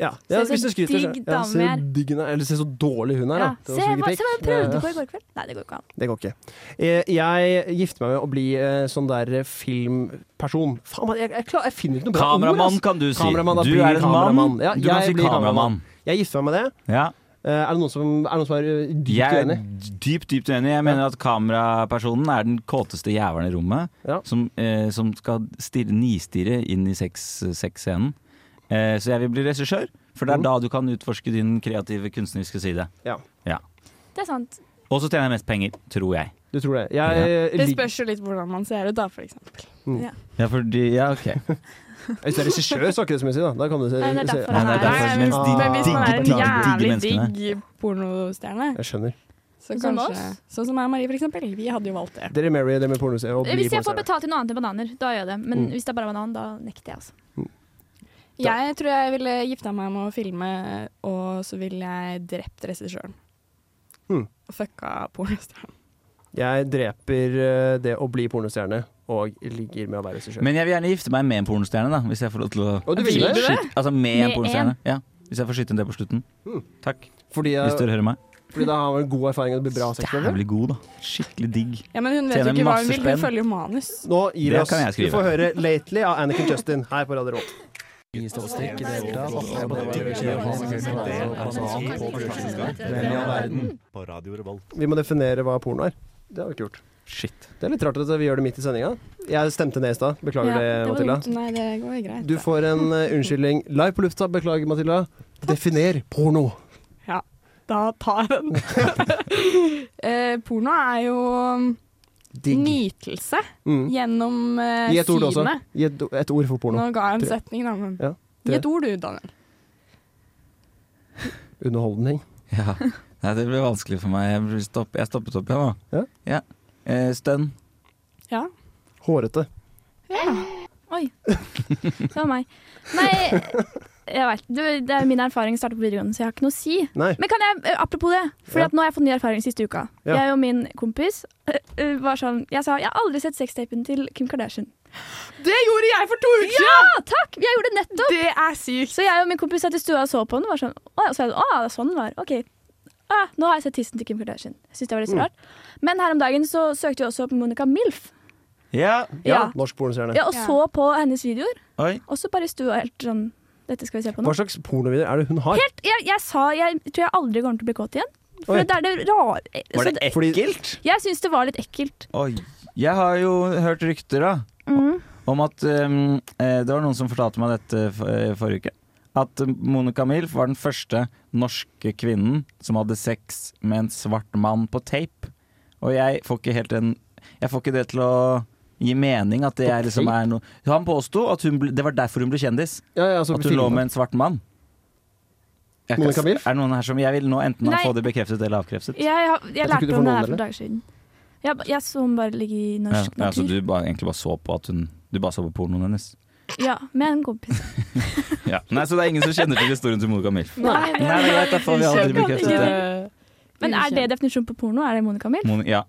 S2: Ja,
S3: Se
S2: ja
S3: så
S2: hvis du skryter
S3: digg
S2: så- ja,
S3: dame
S2: Se
S3: er.
S2: hvor digg hun er. Eller se så dårlig hun er, da.
S3: Ja.
S2: Det
S3: Se
S2: var så
S3: hva se
S2: mye
S3: hva
S2: pikk.
S3: jeg
S2: Ja,
S3: prøvde
S2: ja.
S3: på i går kveld. Nei, det går ikke an.
S2: Det går ikke. Eh, Jeg gifter meg med å bli eh, sånn der eh, filmperson. Faen, man, jeg, jeg, klar, jeg finner ikke noe bra
S5: Kameramann,
S2: ord.
S5: kan du si.
S2: Kameramann, da
S5: Du
S2: blir
S5: er en mann,
S2: kameramann. Ja,
S5: du kan
S2: jeg
S5: si
S2: blir
S5: kameramann.
S2: kameramann. Altså. Jeg gifter meg med det.
S5: Ja.
S2: Eh, Er det noen som er, noen som er eh, dypt
S5: Jeg er
S2: uenig?
S5: dypt, dypt uenig. Jeg mener at kamerapersonen er den kåteste jævelen i rommet.
S2: Ja.
S5: Som, eh, som skal stirre, nistirre inn i sex- sexscenen. Eh, så jeg vil bli regissør, for det er
S2: Mm.
S5: da du kan utforske din kreative kunstneriske side.
S3: Det er sant.
S5: Og så tjener jeg mest penger, tror jeg.
S2: Du tror det? Jeg, eh,
S4: Det
S2: lik-
S4: spørs jo litt hvordan man ser ut, da, for eksempel.
S5: Ja, fordi, ja, ok.
S2: Hvis du er regissør, så har ikke det så mye å si, da. Da kan du se,
S3: Nei, det er
S2: se-
S3: derfor
S5: Nei, det er
S3: Nei,
S5: derfor,
S4: men-
S5: mens de
S4: men hvis man er
S5: digge,
S4: en
S5: digge, digge
S4: jævlig
S5: menneskene
S4: digg pornostjerne,
S2: Jeg skjønner.
S4: så
S3: Sånn som
S4: kanskje
S3: oss?
S4: Sånn som jeg og Marie, for eksempel. Vi hadde jo valgt det.
S2: Dere Mary, dere med pornoserie og blir
S3: Eh, Hvis jeg
S2: pornoserie.
S3: får betalt i noe annet enn bananer, da gjør jeg det. Men
S2: Mm.
S3: hvis det er bare banan, da nekter jeg, altså.
S4: Jeg tror jeg ville gifta meg med å filme, og så ville jeg drept regissøren.
S2: Hmm.
S4: Og fucka pornostjernen.
S2: Jeg dreper eh, det å bli pornostjerne og ligger med å være regissør.
S5: Men jeg vil gjerne gifte meg med en pornostjerne, da. Hvis jeg får lov til å
S2: Og du vil
S4: Vil
S2: det?
S4: du det?
S5: skyte Altså med, en
S3: Med
S5: pornostjerne. Ja. Hvis jeg får skyte en del på slutten.
S2: Mm.
S5: Takk.
S2: Fordi,
S5: Hvis
S2: jeg,
S5: dere hører meg.
S2: fordi da har man god erfaring og det blir bra sex med det?
S5: Jævlig god, da. Skikkelig digg.
S4: Ja, men hun vet jo
S5: Tjener
S4: ikke hva hun
S5: masse
S4: vil, hun
S5: spenn.
S4: følger jo manus.
S2: Nå gir vi
S5: Det
S2: oss.
S5: kan jeg
S2: Du
S5: skrive.
S2: får høre 'Lately' av Anniken Justin her på Radio Råd.
S3: altså
S2: altså.
S1: På Radio Revolt.
S2: Vi må definere hva porno er. Det har vi ikke gjort.
S5: Shit.
S2: Det er litt rart at vi gjør det midt i sendinga. Jeg stemte ned i stad. Beklager
S4: Ja,
S2: det,
S4: var
S2: Matilda.
S4: dumt. Nei, det går jo greit.
S2: Du
S4: det.
S2: får en eh, unnskyldning live på lufta. Beklager, Matilda. Definer porno.
S4: Ja, da tar
S2: <laughs>
S4: jeg den. eh, porno er jo um,
S2: Digg.
S4: nytelse
S2: Mm.
S4: gjennom eh,
S2: Gi et ord også.
S4: synet.
S2: Gi et, et ord for porno.
S4: Nå ga jeg en
S2: Tre.
S4: setning, da, men
S2: Ja,
S4: Gi
S2: tre.
S4: et ord du, Daniel.
S2: Underholdning.
S5: Ja. <laughs> Nei, det ble vanskelig for meg. Jeg, blir stopp, jeg stoppet opp, jeg, da. Ja. Eh, stønn.
S4: Ja.
S2: Hårete.
S3: Oi. Det var meg. Nei, jeg vet, det, det er min erfaring startet på videregående, så jeg har ikke noe å si.
S2: Nei.
S3: Men kan jeg, eh, apropos det, for
S2: Ja.
S3: at nå har jeg fått ny erfaring siste uka.
S2: Ja.
S3: Jeg og min kompis eh, eh, var sånn Jeg sa jeg har aldri sett sextapen til Kim Kardashian.
S4: Det gjorde jeg for to uker siden!
S3: Ja, takk! Jeg gjorde det nettopp!
S4: Det er sykt.
S3: Så jeg og min kompis satt i stua og så på den. Og var sånn, å, ja, så jeg, å, sånn den var. OK. Ah, nå har jeg sett tissen til Kim Kardashian. Jeg synes det var litt så
S2: Mm.
S3: rart. Men her om dagen så søkte vi også opp Monica Milf.
S5: Ja.
S2: Ja.
S3: Ja.
S2: Norsk pornostjerne.
S3: Ja, og
S4: Ja.
S3: så på hennes videoer.
S5: Oi.
S3: Og så bare i stua helt sånn Dette skal vi se på nå.
S2: Hva slags pornovideoer er det hun har?
S3: Helt, jeg, jeg sa Jeg tror jeg aldri kommer til å bli kåt igjen. For
S2: Oi.
S3: det er det rare eh, så
S5: Var
S3: det-
S5: det
S2: Fordi-
S5: ekkelt?
S3: Jeg syns det var litt ekkelt.
S5: Oi. Jeg har jo hørt rykter, da.
S3: Mm.
S5: ehm, Om at eh, eh, Det var noen som fortalte meg dette for, eh, forrige uke. at Monica Milf var den første norske kvinnen som hadde sex med en svart mann på tape. Og jeg får ikke helt en Jeg får ikke det til å gi mening at det
S2: På
S5: er liksom
S2: tape?
S5: er noe Han påsto at hun ble, det var derfor hun ble kjendis.
S2: Ja, ja, altså,
S5: At hun lå med en svart mann. Jeg kan-
S2: Monica Milf?
S5: Er det noen her som Jeg vil nå enten
S3: Nei.
S5: få det bekreftet eller avkreftet.
S3: Jeg, har- jeg,
S2: Jeg tror ikke du
S3: lærte
S2: får
S3: om
S2: noen,
S3: det her for
S2: eller?
S3: noen dager siden. Jeg, ba- jeg så den bare ligge i norsk
S5: Ja, ja, så
S3: natur.
S5: du bare, egentlig bare så på at hun Du bare så på pornoen hennes?
S3: Ja, med en kompis.
S5: Ja. Nei, Så det er ingen som kjenner til historien til Monica Milf?
S3: Nei, det-
S5: Nei, det er greit, da får vi aldri
S3: Kan
S5: bekreftet
S3: ikke
S5: det.
S3: Men er det definisjonen på porno? Er det Monica Milf?
S5: Mon ja.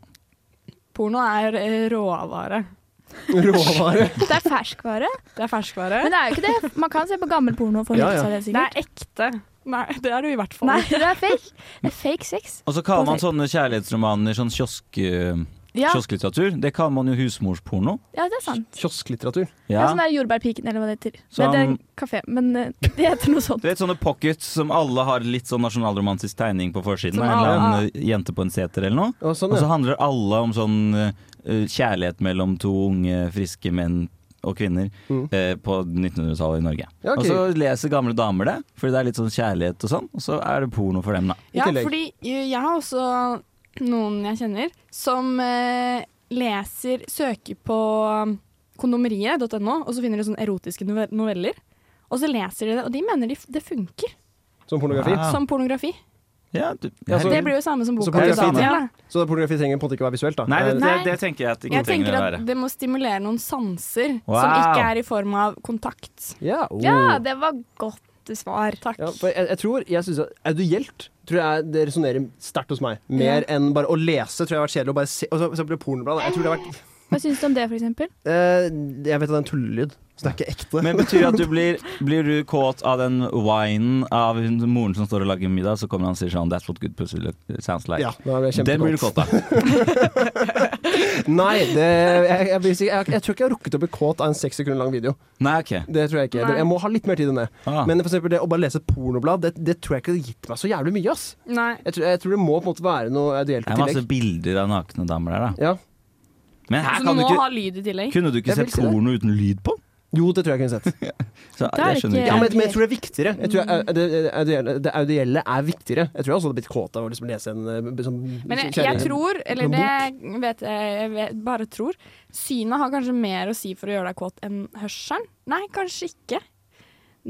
S4: Porno er eh, råvare.
S2: <laughs> Råvare.
S3: Det er ferskvare.
S4: Det er ferskvare.
S3: Men det er jo ikke det. Man kan se på gammel porno og få
S2: Ja,
S3: nytelse
S2: ja.
S3: av det,
S4: Det
S3: sikkert.
S4: er ekte. Nei, det er det jo i hvert fall.
S3: Nei, det er fake. Det er fake sex.
S5: Og så kaller man sånne kjærlighetsromaner sånn kiosk,
S3: Ja,
S5: kiosklitteratur. Det kaller man jo husmorsporno.
S3: ja det er sant.
S2: Kiosklitteratur.
S3: Det er
S5: Ja.
S3: sånn der Jordbærpiken, eller hva det heter.
S5: Som-
S3: Nei, det er en kafé, men eh, det heter noe sånt.
S5: Du vet sånne pockets som alle har litt sånn nasjonalromantisk tegning på forsiden.
S4: Som
S5: En eller
S4: alle-
S5: annen eh, jente på en seter eller noe.
S2: Ja, sånn,
S5: Og så
S2: ja.
S5: handler alle om sånn eh, kjærlighet mellom to unge, friske menn og kvinner
S2: Mm.
S5: eh, på 1900-tallet i Norge.
S2: Ja, ok.
S5: Og så leser gamle damer det, fordi det er litt sånn kjærlighet og sånn. Og så er det porno for dem, da.
S2: I
S4: Ja,
S2: tillegg.
S4: fordi eh, jeg har også noen jeg kjenner som eh, leser, søker på um, kondomeriet.no, og så finner de sånne erotiske nove- noveller. Og så leser de det, og de mener de, f- det funker
S2: Som pornografi.
S5: Ah.
S4: som pornografi.
S5: Ja, du,
S2: Ja, så-
S5: herregud.
S4: Det blir jo samme som
S2: Så
S4: boka.
S2: pornografi
S4: til
S5: det er
S4: damen, da.
S2: Så pornografi trenger på en måte ikke å være visuelt, da. Eh,
S5: Nei, det, det,
S4: Nei.
S5: det tenker jeg at det ikke
S4: Jeg tenker
S5: trenger å
S4: at
S5: være.
S4: det må stimulere noen sanser som
S5: Wow.
S4: ikke er i form av kontakt.
S2: Ja, oh.
S3: Ja, det var godt svar. Takk.
S2: Ja, for jeg, jeg tror jeg synes at Audielt tror jeg det resonnerer sterkt hos meg. Mer enn bare å lese. tror jeg har vært kjedelig å bare se og så, for eksempel pornoblad. Jeg tror det har vært
S3: Hva syns du om det, for eksempel?
S2: eh, Jeg vet at det er en tullelyd, så det er ikke ekte.
S5: Men betyr det at du blir, blir du kåt av den winen av hun, moren som står og lager middag, så kommer han og sier sånn That's what good pussy look- sounds like.
S2: ja, da ble jeg
S5: Den blir du
S2: kjempekåt.
S5: kåt av.
S2: Nei, det, jeg, jeg, blir sikker- jeg, jeg tror ikke jeg har rukket å bli kåt av en seks sekunder lang video.
S5: Nei, OK.
S2: Det tror jeg ikke.
S4: Nei.
S2: Jeg må ha litt mer tid enn det.
S5: Ah.
S2: Men for eksempel det å bare lese pornoblad, det, det tror jeg ikke hadde gitt meg så jævlig mye. ass
S4: Nei.
S2: Jeg tror, jeg tror det må på en måte være noe audielt
S5: det
S2: i
S5: er masse
S2: tillegg.
S5: bilder av nakne damer der, da.
S2: Ja.
S5: Men her
S4: Så du
S5: kan du
S4: må
S5: ikke
S4: ha lyd i tillegg.
S5: Kunne du ikke
S2: Jeg vil
S5: sett
S2: si det.
S5: porno uten lyd på?
S2: Jo, det tror jeg kunne sett.
S5: Så,
S3: Det er
S5: jeg skjønner
S3: ikke-
S2: Ja,
S5: ikke.
S2: men, men jeg tror det er viktigere. Jeg tror jeg, det, det, audielle, det audielle er viktigere. Jeg tror jeg også hadde blitt kåt av å liksom lese en eh, b- sånn
S4: Men jeg,
S2: kjærlighet-
S4: jeg tror, eller
S2: en
S4: det vet jeg, jeg vet, bare tror, synet har kanskje mer å si for å gjøre deg kåt enn hørselen. Nei, kanskje ikke.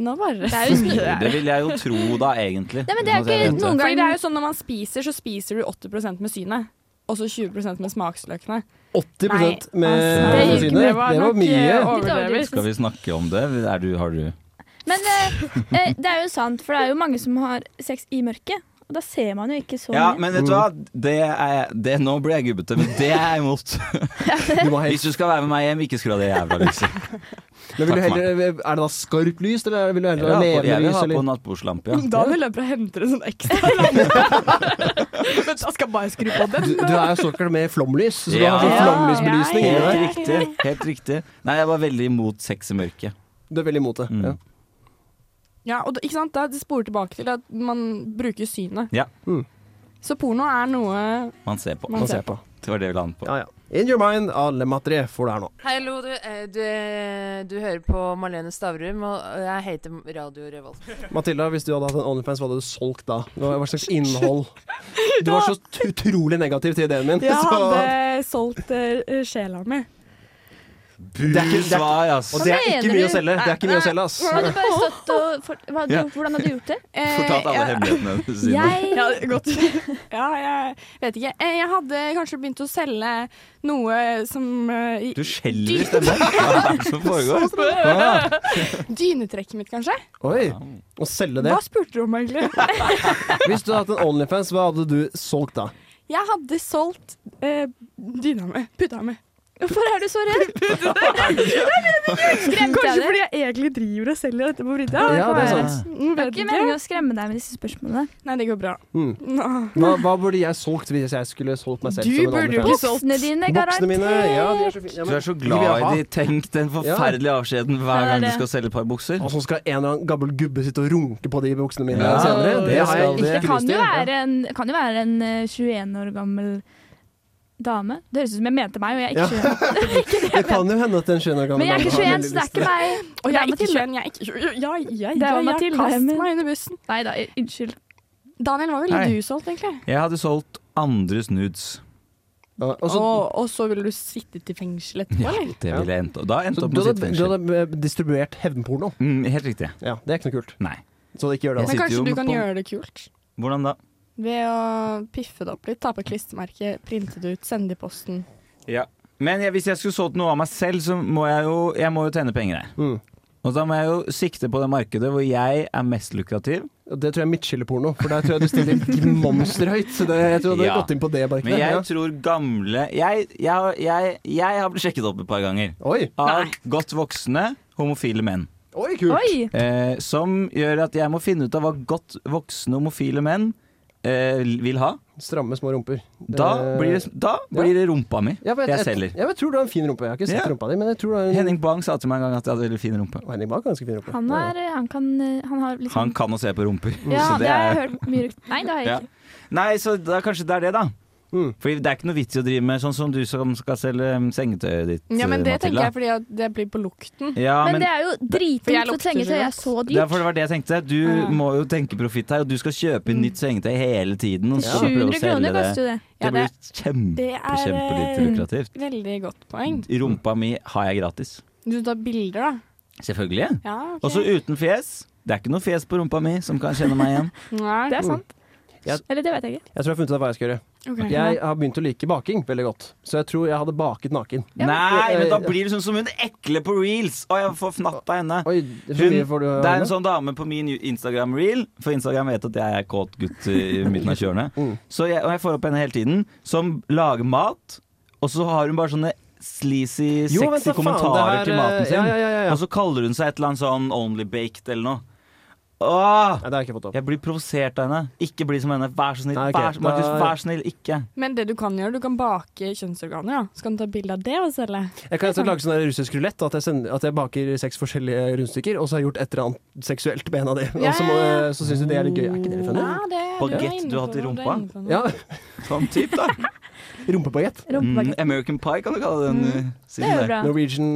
S4: Nå bare
S3: Det er jo
S5: Jo, <laughs> Det vil jeg jo tro, da, egentlig.
S3: Nei, men det er
S5: uten at jeg
S3: ikke
S5: vet det.
S3: noen
S4: Fordi det er
S3: gang
S4: jo sånn når man spiser, så spiser du 80 med synet. Og så 20 med smaksløkene.
S2: 80
S4: Nei,
S2: med
S5: det
S2: synet.
S4: gikk- det
S2: Det
S4: var
S2: var,
S4: nok,
S2: mye.
S4: eh,
S3: Litt overdrevet.
S5: Skal vi snakke om det? Er du, har du
S3: Men eh, eh, det er jo sant, for det er jo mange som har sex i mørket. Og da ser man jo ikke så
S5: Ja,
S3: mye.
S5: men vet du hva? Det er, det, nå blir jeg gubbete, men det er jeg imot.
S2: Du må
S5: Hvis
S2: helst,
S5: du skal være med meg hjem, ikke skru av det jævla lyset.
S2: <laughs> men vil du
S5: Takk for
S2: heller, er det da skarpt lys, eller vil du
S5: Jeg vil
S2: heller ha
S5: ha på- jeg
S2: levende
S5: vil
S2: lys?
S5: ha på
S2: Eller?
S5: nattbordslampe,
S2: <laughs>
S5: ja.
S4: Da vil jeg prøve å hente en sånn ekstra <laughs> lampe. Men da skal jeg bare skru på
S2: Du,
S4: den.
S2: du er jo såkalt med flomlys, så du
S5: Ja.
S2: har sånn
S5: Ja,
S2: flomlysbelysning.
S4: ja,
S2: inni
S4: ja.
S2: deg.
S5: Helt riktig. helt riktig Nei, jeg var veldig imot sex i mørket.
S2: Du er veldig imot det.
S5: Mm.
S2: Ja.
S4: Ja, og da, ikke sant? Da det sporer tilbake til at man bruker synet.
S5: Ja.
S2: Mm.
S4: Så porno er
S2: <laughs>
S4: noe
S5: Man ser på.
S4: man
S2: Man ser
S4: ser på.
S2: på.
S5: Det var det vi landet på.
S2: Ja, ja. In your mind av Le Matre får du her nå.
S6: Hallo, du, eh, du, eh, du hører på Marlene Stavrum, og og jeg heter Radio Revolt.
S2: Matilda, hvis du hadde hatt en OnlyFans, hva hadde du solgt da? Hva hva slags innhold? Du var så ut- utrolig negativ til ideen min.
S4: Jeg
S2: <laughs> så-
S4: hadde solgt eh, sjela mi.
S5: Bu
S2: er ikke- det er ikke-
S5: svar, ass.
S2: Og det er
S3: Hva
S2: ikke
S3: mener
S2: mye å
S3: du?
S2: selge. Det er ikke mye å selge, ass.
S3: Hadde du bare stått og for, hva hadde du
S5: Ja.
S3: gjort, Hvordan hadde du gjort det?
S4: <laughs> Eh,
S5: Fortalt alle
S4: jeg-
S5: hemmelighetene sine.
S3: <laughs> Jeg
S4: <laughs> Ja, godt. <laughs> ja, jeg vet ikke. Eh, Jeg hadde kanskje begynt å selge noe som eh, i-
S5: Du skjelver i stemmen. Hva er det som foregår?
S2: Ah,
S4: Dynetrekket mitt, kanskje?
S2: oi, å selge det.
S4: Hva spurte du om, egentlig?
S2: Hvis du hadde hatt en Onlyfans, hva hadde du solgt da?
S4: Jeg hadde solgt eh, dyna mi. Puta mi.
S3: Hvorfor er du så redd? Skremte
S4: Kanskje
S3: jeg deg?
S4: fordi jeg egentlig driver og selger dette på brydda?
S2: Ja, det er sant.
S3: Det er ikke meningen å skremme deg med disse spørsmålene.
S4: Nei, det går bra.
S2: Mm.
S4: Nå.
S2: Hva, hva burde jeg solgt hvis jeg skulle solgt meg selv
S4: Du
S2: som en
S4: burde jo
S2: Onlyfans?
S4: ikke
S3: Buksene dine,
S2: Buksene mine, ja, de er
S3: garantert.
S2: så fine. Ja,
S5: Du
S2: men-
S5: er så
S2: de vil jeg ha.
S5: glad i de. Tenk den forferdelige avskjeden hver
S3: Ja, det er
S5: gang du
S3: det.
S5: skal selge et par bukser.
S2: Og så skal en eller annen gammel gubbe sitte og runke på de buksene mine
S5: Ja,
S2: senere. Det
S5: det
S2: har jeg
S5: skal det.
S2: ikke
S3: Det kan
S2: lyst til.
S3: jo være en, kan jo være en eh, 21 år gammel dame. Det høres ut som jeg mente meg, og jeg er
S2: Ja.
S3: <laughs> ikke 21.
S2: Det kan jo hende at en 21 år gammel
S3: Men jeg er ikke
S2: dame har
S3: 21, så det er ikke meg.
S4: Og jeg er ikke
S3: Mathilde.
S4: 21, jeg er ikke 21. Ja, jeg, jeg,
S3: Det er jo
S4: jeg,
S3: Mathilde,
S4: kast
S3: men-
S4: meg under bussen.
S3: Nei da, unnskyld.
S4: Daniel, hva ville
S5: Nei.
S4: du solgt, egentlig?
S5: Jeg hadde solgt andres nudes.
S2: Ja, og så-
S4: og, og så ville du sittet i fengsel etterpå, eller?
S5: Det
S2: Ja.
S5: ville jeg endt opp Da endte
S2: så
S5: opp med
S2: du
S5: å
S2: hadde,
S5: sitte i
S2: du
S5: fengsel.
S2: hadde eh, distribuert hevnporno.
S5: Mm, helt riktig.
S2: Ja, det er ikke noe kult.
S5: Nei.
S2: Så ikke gjør det.
S5: Jeg sitter jo
S2: altså.
S4: Men kanskje du kan
S5: på-
S4: gjøre det kult?
S5: Hvordan da?
S4: Ved å piffe det opp litt, ta på klistremerket, printe det ut, sende det i posten.
S5: Ja. Men jeg, hvis jeg skulle solgt noe av meg selv, så må jeg jo, jeg må jo tjene penger her.
S2: Mm.
S5: Og da må jeg jo sikte på det markedet hvor jeg er mest lukrativ.
S2: Og Det tror jeg er midtskilleporno, for der tror jeg du <laughs> stiller monsterhøyt. Så det, jeg tror du hadde
S5: Ja.
S2: gått inn på det markedet.
S5: Men jeg
S2: ja.
S5: tror gamle Jeg, jeg, jeg, jeg har blitt sjekket opp et par ganger
S2: Oi,
S5: av godt voksne homofile menn.
S2: oi, kult!
S3: Oi!
S5: Eh, som gjør at jeg må finne ut av hva godt voksne homofile menn eh, vil ha.
S2: Stramme små rumper.
S5: Da
S2: Eh,
S5: blir det, da blir det rumpa mi
S2: ja, men
S5: jeg selger.
S2: Jeg, jeg tror du har en fin rumpe. Jeg har ikke sett
S5: Ja.
S2: rumpa di, men jeg tror du har en
S5: Henning Bang sa til meg en gang at jeg hadde veldig fin rumpe.
S2: Og Henning Bach har ganske fin rumpe.
S3: Han, er, han kan eh, Han har liksom
S5: Han kan å se på rumper.
S3: Ja,
S5: så
S3: det har jeg hørt mye rykt- Nei, det har jeg
S5: Ja.
S3: ikke.
S5: Nei, så da, kanskje det er det, da.
S2: Mm.
S5: Fordi det er ikke noe vits i å drive med sånn som du som skal selge um, sengetøyet ditt,
S4: Ja, men det tenker
S5: Matilda.
S4: jeg fordi at det blir på lukten.
S5: Ja,
S3: men,
S5: men
S3: det er jo
S4: For jeg
S3: dritdyrt, for
S4: lukter
S3: sengetøy
S4: så
S3: er så
S5: det er
S3: dyrt.
S5: for det var det jeg tenkte. Du
S4: Ja.
S5: må jo tenke profitt her, og du skal kjøpe inn nytt sengetøy hele tiden. Og så skal du prøve
S3: 700
S5: å selge
S3: kroner
S5: det.
S3: koster jo det.
S4: Ja,
S5: Det blir
S4: det-
S5: kjempe,
S4: Det er
S5: kjempelite
S4: eh,
S5: lukrativt.
S4: veldig godt poeng.
S5: Rumpa mi har jeg gratis.
S4: Du tar bilder, da.
S5: Selvfølgelig.
S4: Ja, ok.
S5: Og så uten fjes. Det er ikke noe fjes på rumpa mi som kan kjenne meg igjen.
S4: Nei.
S3: Det er sant.
S2: Ja.
S3: Eller det vet jeg ikke.
S2: Jeg tror jeg har funnet ut hva jeg skal gjøre.
S4: Ok.
S2: Jeg har begynt å like baking veldig godt, så jeg tror jeg hadde baket naken.
S3: Ja, men-
S5: Nei, men da blir det sånn som hun ekle på reels. Å, jeg får fnatt av henne.
S2: Oi, det er så
S5: Hun-
S2: mye får du
S5: Det er en sånn dame på min Instagram-reel, for Instagram vet at jeg er kåt gutt i midten av kjørende.
S2: <laughs> Mm.
S5: Så jeg, og jeg får opp henne hele tiden, som lager mat, og så har hun bare sånne sleazy,
S2: Jo, vent
S5: sexy
S2: da, faen,
S5: kommentarer
S2: det her,
S5: til maten
S2: eh,
S5: sin.
S2: Ja, ja, ja, ja.
S5: Og så kaller hun seg et eller annet sånn only baked eller noe. Åh!
S2: Nei, det har jeg ikke fått opp.
S5: Jeg blir provosert av henne. Ikke bli som henne. Vær så snill.
S2: Nei, ok,
S5: vær,
S2: da-
S5: Markus, vær så snill, ikke.
S4: Men det du kan gjøre, du kan bake kjønnsorganer. da. Så kan du ta bilde av det og selge.
S2: Jeg kan nesten lage sånn der russisk rulett, at, jeg sender- at jeg baker seks forskjellige rundstykker, og så har jeg gjort et eller annet seksuelt med en av de. Og så, må, så syns du det er litt gøy. Er ikke det litt funny?
S4: Ja, det, er-
S5: Baguette
S4: er inne
S5: du har
S4: på
S5: til
S4: noe, er
S5: rumpa?
S4: inne på noe.
S2: Ja,
S5: Sånn typ, da.
S2: Rumpebagett.
S5: <laughs> Mm,
S3: Rumpebagett.
S5: American pie kan du kalle den mm.
S3: Det er jo bra.
S2: Norwegian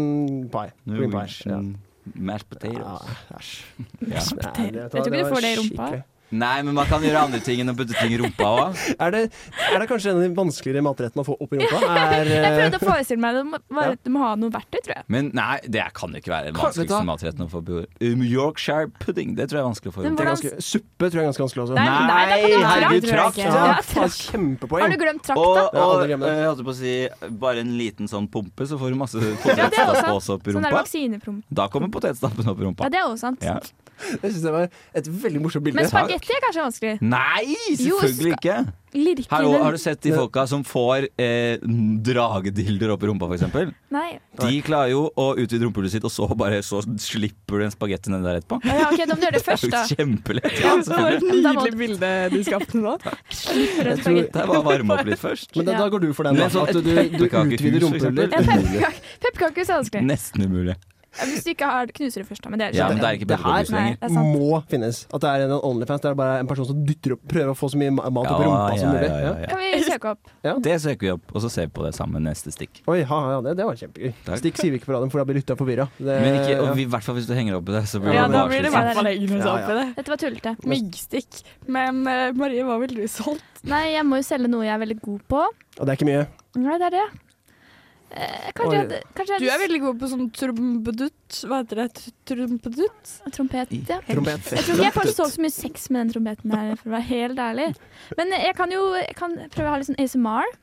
S2: pie. Green pie. Ja.
S5: Norwegian mashed potatoes.
S2: Ja, Æsj.
S5: Ja.
S2: Nei, det-
S3: Jeg tror ikke du
S2: var
S3: får det i rumpa.
S2: skikkelig.
S5: Nei, men man kan gjøre andre ting enn å putte ting i rumpa òg.
S2: Er det, er det kanskje en av de vanskeligere matrettene å få opp i rumpa?
S5: <laughs>
S2: Er,
S3: Jeg
S2: eh,
S3: prøvde å forestille meg det. Du må, bare- du må ha noe verktøy, tror jeg.
S5: Men nei, det kan jo ikke være den
S2: Hva- vet du hva?
S5: vanskeligste matretten å få på jorda. Um, Yorkshire pudding, det tror jeg er vanskelig å få
S3: Men
S5: opp.
S2: det er
S3: hvordan-
S2: ganske, suppe tror jeg er ganske vanskelig også.
S3: Nei, nei, da kan du ha
S5: herregud, trakt!
S3: trakt. Ja,
S5: Ja.
S2: Ja,
S3: ja,
S2: faen,
S3: takk. Har du
S2: kjempepoeng!
S3: glemt trakt,
S5: Og,
S3: da?
S2: Jeg har
S5: og
S2: aldri
S5: jeg
S2: glemt det.
S5: holdt på å si bare en liten sånn pumpe, så får du masse
S3: Ja, det er
S5: potetstapp
S3: også
S5: også opp i
S3: Sånn der
S5: rumpa.
S3: vaksinepromp.
S5: Da kommer potetstappen opp i
S3: Ja,
S5: rumpa.
S3: det er også sant.
S5: Ja.
S2: Jeg syns det var et veldig morsomt bilde.
S3: Men spagetti er kanskje vanskelig.
S5: Nei,
S3: Jo,
S5: selvfølgelig
S3: ska-
S5: ikke! Hallo, har
S3: Lirkene.
S5: du sett de folka som får eh, dragedilder opp i rumpa, f.eks.?
S3: Nei.
S5: De klarer jo å utvide rumpehullet sitt, og så bare så slipper du en spagetti nedi der etterpå.
S3: Ja, ok, da må du gjøre det først,
S5: Det <laughs>
S3: da.
S5: er jo kjempelett.
S3: <laughs>
S5: Ja,
S4: <laughs> Det var
S5: selvfølgelig.
S4: et
S3: Da må
S4: nydelig
S3: du-
S4: bilde du skapte <laughs> nå.
S3: Slipper
S2: tror-
S3: en spagetti.
S5: Det er bare å varme opp litt
S2: <laughs>
S5: først.
S2: Men da, da går du for den, da.
S5: Men sånn
S2: At
S5: et
S2: du, du
S5: pepperkakehus,
S2: utvider
S5: for eksempel.
S2: rumpehullet.
S3: Ja, pepperkake- Pepperkakehus er vanskelig.
S5: Nesten umulig.
S3: Hvis du ikke har knuser det først, da. Men det er
S5: Ja,
S3: ikke
S5: men det er ikke
S2: Det her
S5: pepperkakehus lenger.
S3: det er sant.
S2: må finnes. At det er en Onlyfans der det bare er en person som dytter opp prøver å få så mye ma- mat opp i rumpa som mulig. Ja,
S3: Kan vi søke opp?
S5: Det søker vi opp, og så ser vi på det sammen neste stikk.
S2: Oi, ha, ha, det, det var kjempegøy.
S5: Takk.
S2: Stikk sier vi ikke på radioen, for da blir lytta forvirra.
S5: Men ikke, og vi, i hvert fall hvis du henger opp i det, så blir
S4: Ja,
S5: det
S4: da blir det i
S5: avslutning.
S4: hvert fall ingen
S2: Ja,
S4: ja,
S2: ja.
S4: i det.
S3: Dette var tullete.
S4: Myggstikk. Men eh, Marie, hva ville du solgt?
S3: Nei, jeg må jo selge noe jeg er veldig god på.
S2: Og det er ikke mye.
S3: Nei, det er det. Eh, kanskje jeg, kanskje jeg
S4: Du er veldig god på sånn trompedutt. Hva heter det? Trompedutt?
S3: Trompet, ja.
S2: Trompet.
S3: Jeg tror ikke jeg kanskje så så mye sex med den trompeten her, for å være helt ærlig. Men jeg kan jo jeg kan prøve å ha litt sånn ASMR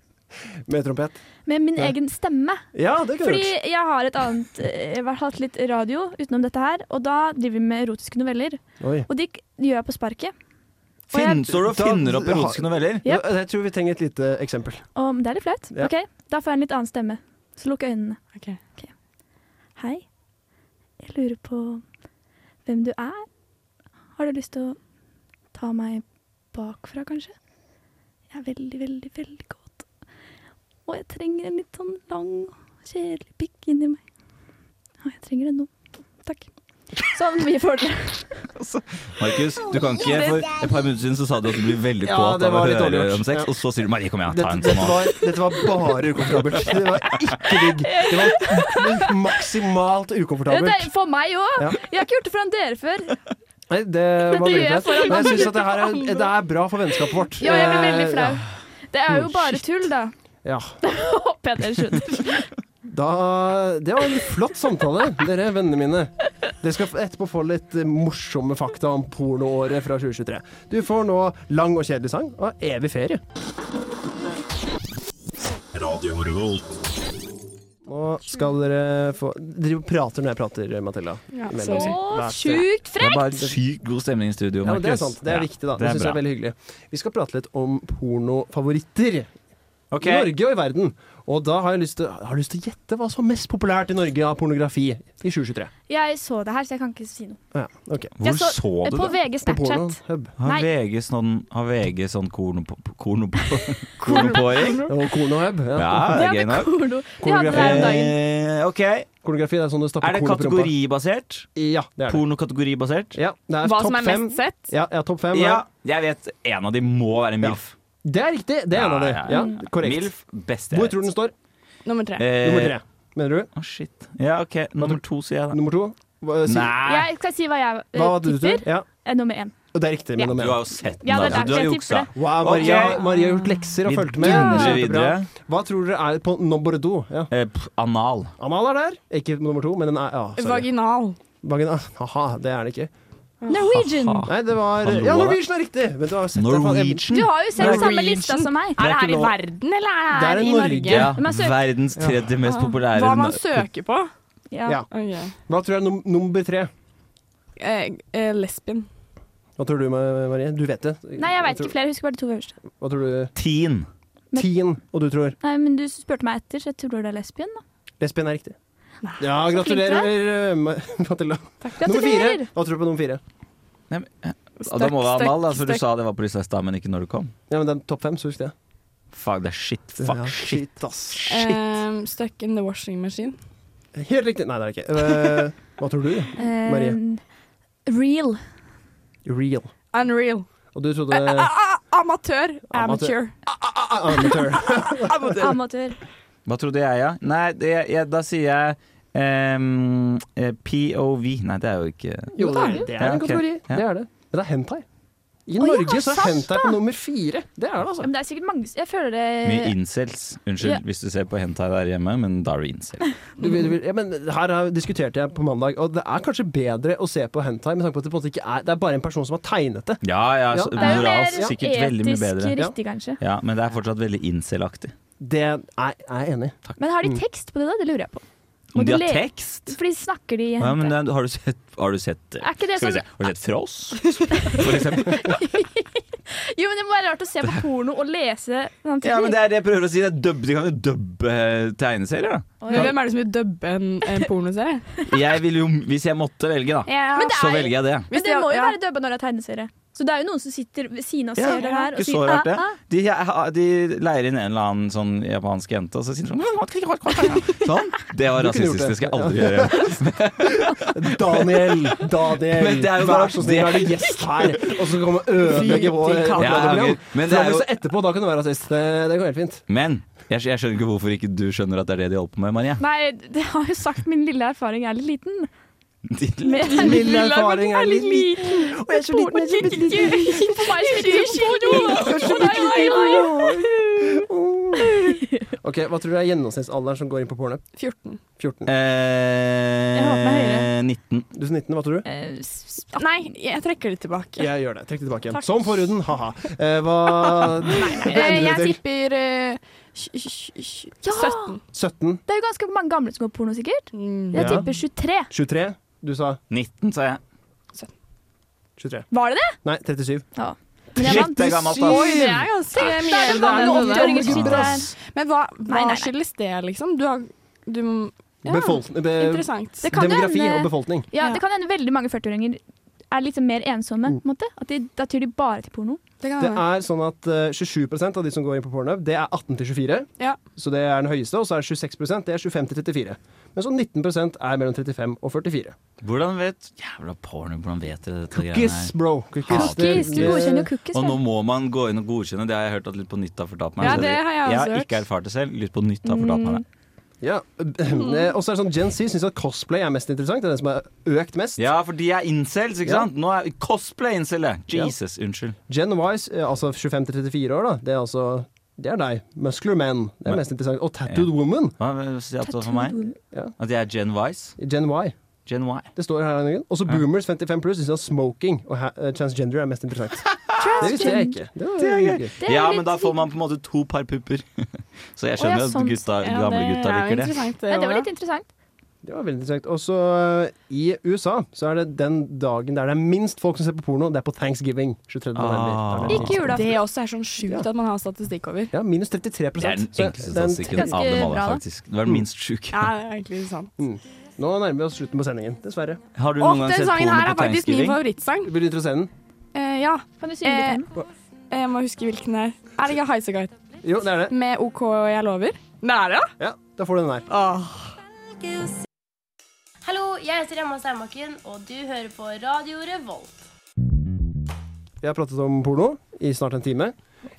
S2: Med trompet.
S3: med min
S2: Ja.
S3: egen stemme.
S2: Ja, det kunne du
S3: Fordi
S2: gjort.
S3: jeg har et annet eh, Jeg har hatt litt radio utenom dette her, og da driver vi med erotiske noveller.
S2: Oi.
S3: Og de k- gjør jeg på sparket. Og jeg-
S5: Finn, står du og finner opp erotiske noveller?
S3: Ja.
S2: Ja, Jeg tror vi trenger et lite eksempel.
S3: Og det er litt flaut.
S2: Ja.
S3: Ok, Da får jeg en litt annen stemme. Så lukk øynene.
S4: Ok.
S3: Hei. Jeg lurer på hvem du er. Har du lyst til å ta meg bakfra, kanskje? Jeg er veldig, veldig, veldig kåt. Og jeg trenger en litt sånn lang, kjedelig pikk inni meg. Og jeg trenger det nå. Takk. Sånn mye får dere.
S7: Markus, du kan ikke For et par minutter siden så sa du at du blir veldig
S2: Ja,
S7: kåt
S2: det
S7: av å
S2: var litt dårlig
S7: høre
S2: gjort.
S7: om sex,
S2: Ja.
S7: og så sier du 'Marie, kom igjen, ta
S2: Dette,
S7: en
S2: dette,
S7: sånn nå'.
S2: var, dette var bare ukomfortabelt. Det var ikke digg. Det var maksimalt
S3: Det
S2: ukomfortabelt.
S3: er for meg òg!
S2: Ja.
S3: Jeg har ikke gjort det foran dere før.
S2: Nei, det var
S3: gjør
S2: veldig
S3: jeg
S2: flaut.
S3: foran
S2: Men jeg
S3: andre.
S2: syns at det her er, det er bra for vennskapet vårt.
S3: Ja, jeg ble veldig
S2: Eh,
S3: flau. Det er
S2: Oh,
S3: jo bare
S2: shit.
S3: tull, da.
S2: Ja, ja.
S3: Håper jeg dere skjønner.
S2: Da, det var en flott samtale, dere vennene mine. Dere skal etterpå få litt eh, morsomme fakta om pornoåret fra 2023. Du får nå lang og kjedelig sang og evig ferie. Nå skal dere få Dere prater når jeg prater, Matilda.
S4: Ja,
S2: Imellom.
S4: sorry.
S3: Å,
S2: Vær så-
S3: sjukt
S5: Det
S3: frekk!
S5: er bare sykt god stemning i studio,
S2: Ja,
S5: Markus.
S2: men det er sant. Det er
S5: Ja,
S2: viktig, da.
S5: det
S2: Det
S5: er
S2: synes jeg er
S5: bra.
S2: veldig hyggelig. Vi skal prate litt om pornofavoritter.
S5: Ok.
S2: I Norge og i verden. Og da har jeg lyst til, har lyst til å gjette hva som er mest populært i Norge av pornografi i 2023.
S3: Jeg så det her, så jeg kan ikke si noe.
S2: Ja, ok.
S3: Jeg
S5: Hvor
S3: så-
S5: så du
S3: På
S5: det?
S3: VG
S2: På Porno
S3: Snapchat.
S2: Hub.
S5: Har
S3: Nei.
S5: VG sånn, har VG sånn kornopo...
S2: <laughs>
S5: kornopo... kornopåring?
S2: Og Kornohub. Ja.
S7: Ja, det
S3: De
S7: er gøy
S3: hadde
S7: nok.
S3: porno. De hadde det her om dagen.
S7: Eh, ok.
S2: Pornografi det er sånn du stapper
S7: Er det
S2: korn opp i rumpa.
S7: kategoribasert?
S2: Ja, det er det.
S7: Pornokategoribasert?
S2: Ja, det er
S4: Hva
S2: topp
S4: som er
S2: fem.
S4: mest sett?
S2: Ja, ja topp fem.
S7: Ja,
S2: Ja.
S7: jeg vet en av de må være MILF.
S2: Det er riktig. Det er en av de.
S7: Ja,
S2: Ja,
S7: ja, ja.
S2: korrekt.
S7: MILF, beste
S2: Hvor tror du den står?
S4: Nummer tre.
S7: Eh,
S2: Nummer tre. Mener du?
S7: Å, shit. Ja, OK. Nummer to, sier jeg da.
S2: Nummer to? Hva, si-
S7: Nei!
S3: Jeg skal si hva jeg eh,
S2: Hva var det du tror?
S3: tipper.
S2: Ja,
S3: Eh, Nummer én.
S2: og det er riktig.
S3: Ja.
S2: Men
S7: Du
S2: nummer
S7: har jo
S2: én.
S7: sett den,
S3: Ja, det er
S7: da. Du
S3: derfor
S7: har
S3: jeg
S7: juksa.
S3: tipper det.
S2: Wow, Maria,
S7: Ok.
S2: Maria har gjort lekser og
S7: Vi
S2: fulgt med.
S7: dundrer
S2: Kjempebra.
S7: videre.
S2: Hva tror dere er på nummer to? Ja.
S7: Eh, pff, anal.
S2: Amal er der. Ikke nummer to, men den er ja, sorry.
S4: Vaginal.
S2: Vagina. Haha, det er den ikke.
S3: Norwegian!
S7: Ha.
S2: Nei, det var
S7: Han lo
S2: Ja,
S7: av det.
S2: Norwegian er riktig! Men du har sett det fra-
S7: Norwegian.
S3: Du har jo selv samme
S7: Norwegian.
S3: lista som
S4: Er
S3: meg.
S7: er
S4: det
S7: ikke
S4: her i
S7: lov.
S4: verden, eller er
S2: Det
S4: det
S2: er
S4: her
S2: i
S4: i
S2: Norge.
S4: Norge?
S7: Ja,
S3: Men jeg søker-
S7: verdens tredje mest populære
S4: Hva man
S7: na-
S4: søker på?
S2: Ja.
S3: Ja.
S4: Ok.
S2: Hva tror jeg er num nummer tre?
S4: Eh, eh, lesbien.
S2: Hva tror du, Ma- Marie? Du vet det.
S3: Nei, jeg
S2: Hva
S3: veit
S2: tror-
S3: ikke flere. Jeg husker bare de to øverste.
S2: Hva tror du?
S7: Teen.
S3: Men-
S2: Tien, og du tror
S3: Nei, men du spurte meg etter, så jeg tror du er lesbien. da.
S2: lesbien er riktig? Ja,
S3: så flink du
S2: gratulerer, eh, Ma- <laughs> Matilda. Nummer fire.
S3: Gratulerer!
S2: Hva tror du på nummer fire?
S5: Nei, men, eh, Da må det være
S4: Støkk,
S5: anal, da,
S4: støkk,
S7: altså.
S5: for du
S4: støkk.
S5: sa det var på lista i stad, men ikke når du kom.
S2: Ja, men det er topp fem, så husk det.
S5: Fuck, det er shit.
S2: Ja,
S5: Fuck, shit.
S2: ass.
S4: Eh, stuck in the washing machine.
S2: Helt riktig. Nei, det er det ikke. Eh, Hva tror du? Marie.
S3: Eh, real.
S2: Real.
S4: Unreal.
S2: Og du trodde
S4: Eh, eh,
S3: <laughs>
S4: eh, amatør.
S2: Amatør.
S4: Amateur.
S2: Amatør.
S3: Amatør.
S5: Hva trodde jeg, ja? Nei, det, jeg, da sier jeg ehm, eh, POV. Nei, det er jo ikke
S2: Jo, det er,
S4: det.
S2: det
S5: Ja,
S2: er en
S5: ok.
S2: kategori.
S5: Ja.
S2: Det er det. Men det er hentai. I
S3: Å, ja,
S2: Norge så er
S3: sant
S2: hentai på nummer fire. Det er det, altså.
S3: Men det er sikkert mange Jeg føler
S5: mye
S3: det
S5: incels. Unnskyld
S3: Eh, Ja. hvis
S5: hvis du ser på hentai der hjemme, men da er du incel.
S2: Du, vil- du, vil- ja, men her har- diskuterte jeg på mandag, og det er kanskje bedre å se på hentai med tanke på at det på en måte ikke er Det er bare en person som har tegnet det.
S5: <laughs> Ja, ja,
S2: Ja.
S5: så
S3: Det er jo
S5: moralsk
S3: mer
S5: sikkert veldig mye
S3: etisk
S5: bedre.
S3: riktig, kanskje.
S5: Ja, men det er fortsatt veldig incel-aktig.
S2: Det er jeg er enig i.
S3: Men har de tekst på det, da? Det lurer jeg på.
S5: Om
S3: Og
S5: de
S3: du
S5: har
S3: le-
S5: tekst?
S3: Fordi snakker de
S5: Ja, men
S3: hentai?
S5: det, har du sett, har du sett eh,
S3: Er ikke det
S5: Skal vi se,
S3: sånn
S5: har du sett
S3: <laughs>
S5: Frost? For eksempel.
S3: Jo, men det må være rart å se på porno og lese samtidig.
S5: Ja, men det er det jeg prøver å si. Det er dub, de kan jo dubbe eh, tegneserier, da.
S3: Oi.
S4: Men Hvem er det som vil dubbe en, en
S3: <laughs>
S4: pornoserie?
S5: Jeg vil jo, hvis jeg måtte velge, da,
S4: Ja.
S3: Men det
S5: så
S3: er-
S5: velger jeg det.
S3: Men
S4: Hvis
S3: det
S4: de-
S3: må jo
S4: ja.
S3: være dubba når det er tegneserie. Så det er jo noen som sitter ved siden av og
S5: Ja,
S3: ser det her.
S5: Ikke
S3: Og
S5: så
S3: sier,
S5: rart, det.
S3: ah, ah.
S5: De, de leier inn en eller annen sånn japansk jente, og så sier de <laughs> sånn Sånn. Det var
S2: Du kunne gjort
S5: rasistisk, det skal jeg aldri gjøre.
S2: Daniel, Daniel,
S5: Men det er jo
S2: vær
S5: bare-
S2: så snill, er det gjest her? Og så kommer ødelegge vår
S4: Fy, fy,
S5: Ja,
S2: radioprogram.
S5: ok. Men det er jo-
S2: Så etterpå, da kan du være rasist. Det, det går helt fint.
S5: Men jeg, jeg skjønner ikke hvorfor ikke du skjønner at det er det de holder på med,
S3: <laughs>
S5: Marie.
S3: Nei, det har jo sagt min lille erfaring er litt liten.
S5: De-
S2: Min erfaring er litt liten.
S3: Og jeg er så liten, jeg er så liten. Ikke for meg, ikke for porno.
S2: Ok, Hva tror du er gjennomsnittsalderen som går inn på pornet?
S4: 14.
S2: 14.
S3: Jeg håper det
S5: Eh,
S3: er
S5: 19.
S2: Du som 19, hva tror du?
S3: Eh, s-
S4: Nei, jeg trekker det tilbake.
S2: Jeg gjør det. Trekk det tilbake igjen.
S4: Takk.
S2: Som forhuden, ha-ha. Eh, hva
S4: <laughs> Eh, jeg tipper eh, tj- tj- tj-
S3: Ja!
S4: 17.
S2: 17?
S3: Det er jo ganske mange gamle som går porno, sikkert.
S4: Mm.
S3: Jeg
S2: Ja.
S3: tipper 23.
S2: 23? Du sa
S5: 19, sa jeg.
S2: 23.
S3: Var det det?
S2: Nei, 37.
S3: Men jeg vant.
S5: Shit, det er gammelt,
S4: Oi,
S5: ass.
S4: det er ganske mye
S3: Det er
S4: eldre
S3: mange
S4: enn det der.
S3: 80-åringer som sitter der.
S4: Men hva,
S3: Nei, nei,
S4: hva
S3: nei.
S4: skyldes det, liksom? Du har du, ja,
S2: Befolkning be
S4: Interessant.
S5: Eh,
S3: Det kan jo
S2: Demografi
S3: hende-
S2: og befolkning.
S3: Ja,
S4: Ja.
S3: det kan hende veldig mange 40-åringer er liksom mer
S5: Mm.
S3: ensomme. på en måte. At de, da tyr de bare til porno.
S4: Det kan
S2: Det
S4: hende.
S2: er sånn at eh, 27 av de som går inn på Pornhub, det er 18 til 24.
S4: Ja.
S2: Så det er den høyeste. Og så er det 26 det er 25 til 34. Men så 19 er mellom 35 og 44.
S5: Hvordan vet Jævla porno, hvordan vet dere dette greiene
S2: Cookies,
S5: her?
S2: bro. Cookies. Det-
S3: Cookies, du godkjenner jo cookies.
S5: Og nå
S3: vel?
S5: må man gå inn og godkjenne, det har jeg hørt at Litt på nytt har fortalt meg.
S4: Ja,
S5: så
S4: det har jeg også
S5: har
S4: hørt.
S5: ikke erfart det selv. Litt på nytt har fortalt meg det.
S2: Ja. Eh, Og så er det sånn Gen Z syns at cosplay er mest interessant. Det er den som er økt mest.
S5: Ja, for de er incels, ikke
S2: Ja.
S5: sant? Nå er cosplay-incel, det.
S2: Ja.
S5: Jesus, unnskyld.
S2: Gen Wise, eh, altså 25 til 34 år, da, det er altså det er deg. Muscular man. Det
S5: Men-
S2: er mest interessant. Og tattooed woman.
S5: Hva vil du si at det var for meg?
S2: Ja.
S5: At jeg er Gen Wise?
S2: Gen Y.
S5: Gen Y.
S2: Det står her. Henningen. Også boomers 55 pluss syns at smoking og ha eh, transgender er mest interessant. Det visste jeg ikke. Det var gøy.
S3: Det er
S5: Ja,
S3: litt
S5: men da får
S3: fint.
S5: man på en måte to par pupper. <laughs> Så jeg
S3: Å, ja,
S5: skjønner at
S3: sånn.
S5: gutta,
S4: Ja,
S5: gamle
S4: det
S5: gutta
S4: er jo
S5: liker det.
S4: interessant,
S3: Ja, det var
S4: også.
S3: litt interessant.
S2: Det var veldig interessant. Og så eh, i USA så er det den dagen der det er minst folk som ser på porno, det er på thanksgiving. 23.
S5: Ah.
S2: november. Det er den
S3: Ikke
S2: minst.
S3: julaften.
S4: Det også er sånn sjukt at man har statistikk over.
S2: Ja, minus 33
S5: Det er den
S2: Så
S5: enkleste
S2: det er en-
S5: statistikken av
S3: ganske
S5: dem alle,
S3: bra, da.
S5: faktisk. Det var den minst sjuke.
S4: Ja, det er egentlig sant.
S2: Nå nærmer vi oss slutten på sendingen, dessverre.
S5: Har du
S4: Og
S5: noen gang
S4: den
S5: sett
S4: sangen
S5: porno
S4: her
S5: på
S4: er faktisk min
S5: tegnskriving?
S4: favorittsang.
S2: Vil du intro scenen?
S4: Eh, ja, eh,
S3: Kan du synge litt? om
S4: jeg må huske hvilken det er. Er det ikke Highasakite?
S2: Jo, det er det.
S4: Med OK og jeg lover? Det er det,
S2: Ja, Da får du den her.
S8: Hallo, jeg heter Emma Steinbakken, og du hører på Radio Revolt.
S2: Vi har pratet om porno i snart en time.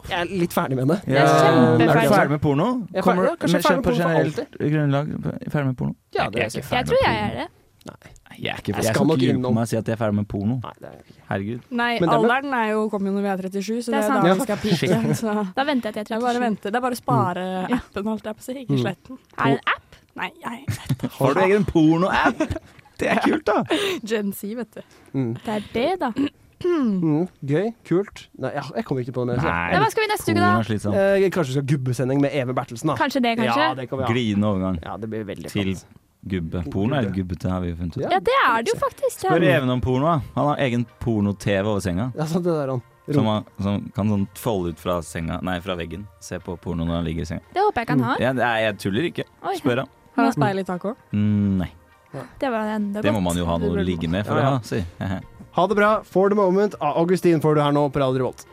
S2: Jeg er litt ferdig med det.
S5: Ja.
S3: kjempeferdig.
S5: Er du ferdig med porno?
S2: Jeg er ferdig-
S5: Kommer du
S2: ja, kanskje jeg er
S5: på
S2: ferdig med porno for
S5: generelt grunnlag ferdig med porno?
S2: Ja, det er
S5: ikke
S2: jeg.
S3: Jeg tror jeg er det.
S5: Nei, Jeg er ikke
S2: Jeg
S5: Jeg
S2: skal
S5: skal
S2: nok
S5: ikke
S2: innom.
S5: gruppe meg og si at jeg er ferdig med porno.
S2: Nei, det er jeg ikke.
S5: Herregud.
S4: Nei,
S2: Men det er med-
S4: alderen er jo, kommer jo når vi er 37, så
S3: Det
S4: det
S3: er
S4: er,
S3: sant.
S4: da
S2: Ja.
S4: vi skal pike. Så det
S3: Da venter jeg til jeg
S4: er
S3: er
S4: bare å
S3: 37.
S4: vente. Det er bare å spare appen, holdt jeg på å si. Ikke sletten.
S3: Er det en app?
S4: Nei, jeg <laughs>
S5: Har du egen porno-app? Det er kult, <laughs> da!
S4: Gen Z, vet du.
S3: Det er det, da.
S2: Mm, gøy, kult. Nei, jeg, jeg kommer ikke på det mer. så.
S3: Nei, hva skal vi neste uke,
S5: porno
S3: da?
S5: er slitsomt.
S2: Eh, kanskje vi skal ha gubbesending med Even Bertelsen, da.
S3: Kanskje det, kanskje?
S2: Ja, det kan vi ha.
S5: Glidende overgang
S2: Ja, det blir veldig
S5: til
S2: flott.
S5: gubbe. Porno er litt gubbete, har vi jo funnet ut.
S2: Ja.
S3: Ja, det er det jo faktisk.
S5: Spør
S3: Ja.
S5: Even om porno. da. Han har egen porno-TV over senga.
S2: Ja, sant, det der, han.
S5: Som, han, som kan sånn folde ut fra senga Nei, fra veggen. Se på porno når han ligger i senga.
S3: Det håper jeg ikke han har.
S5: Jeg, nei, jeg tuller ikke.
S3: Oi,
S5: Spør han.
S4: Har han speil i taco?
S5: Mm, Nei.
S3: det var enda godt.
S5: Det må man jo ha noe å ligge med for
S2: Ja, ja.
S5: å ha, si. <laughs>
S2: Ha det bra. For the moment av Augustin Ah, får du her nå på Radio Revolt.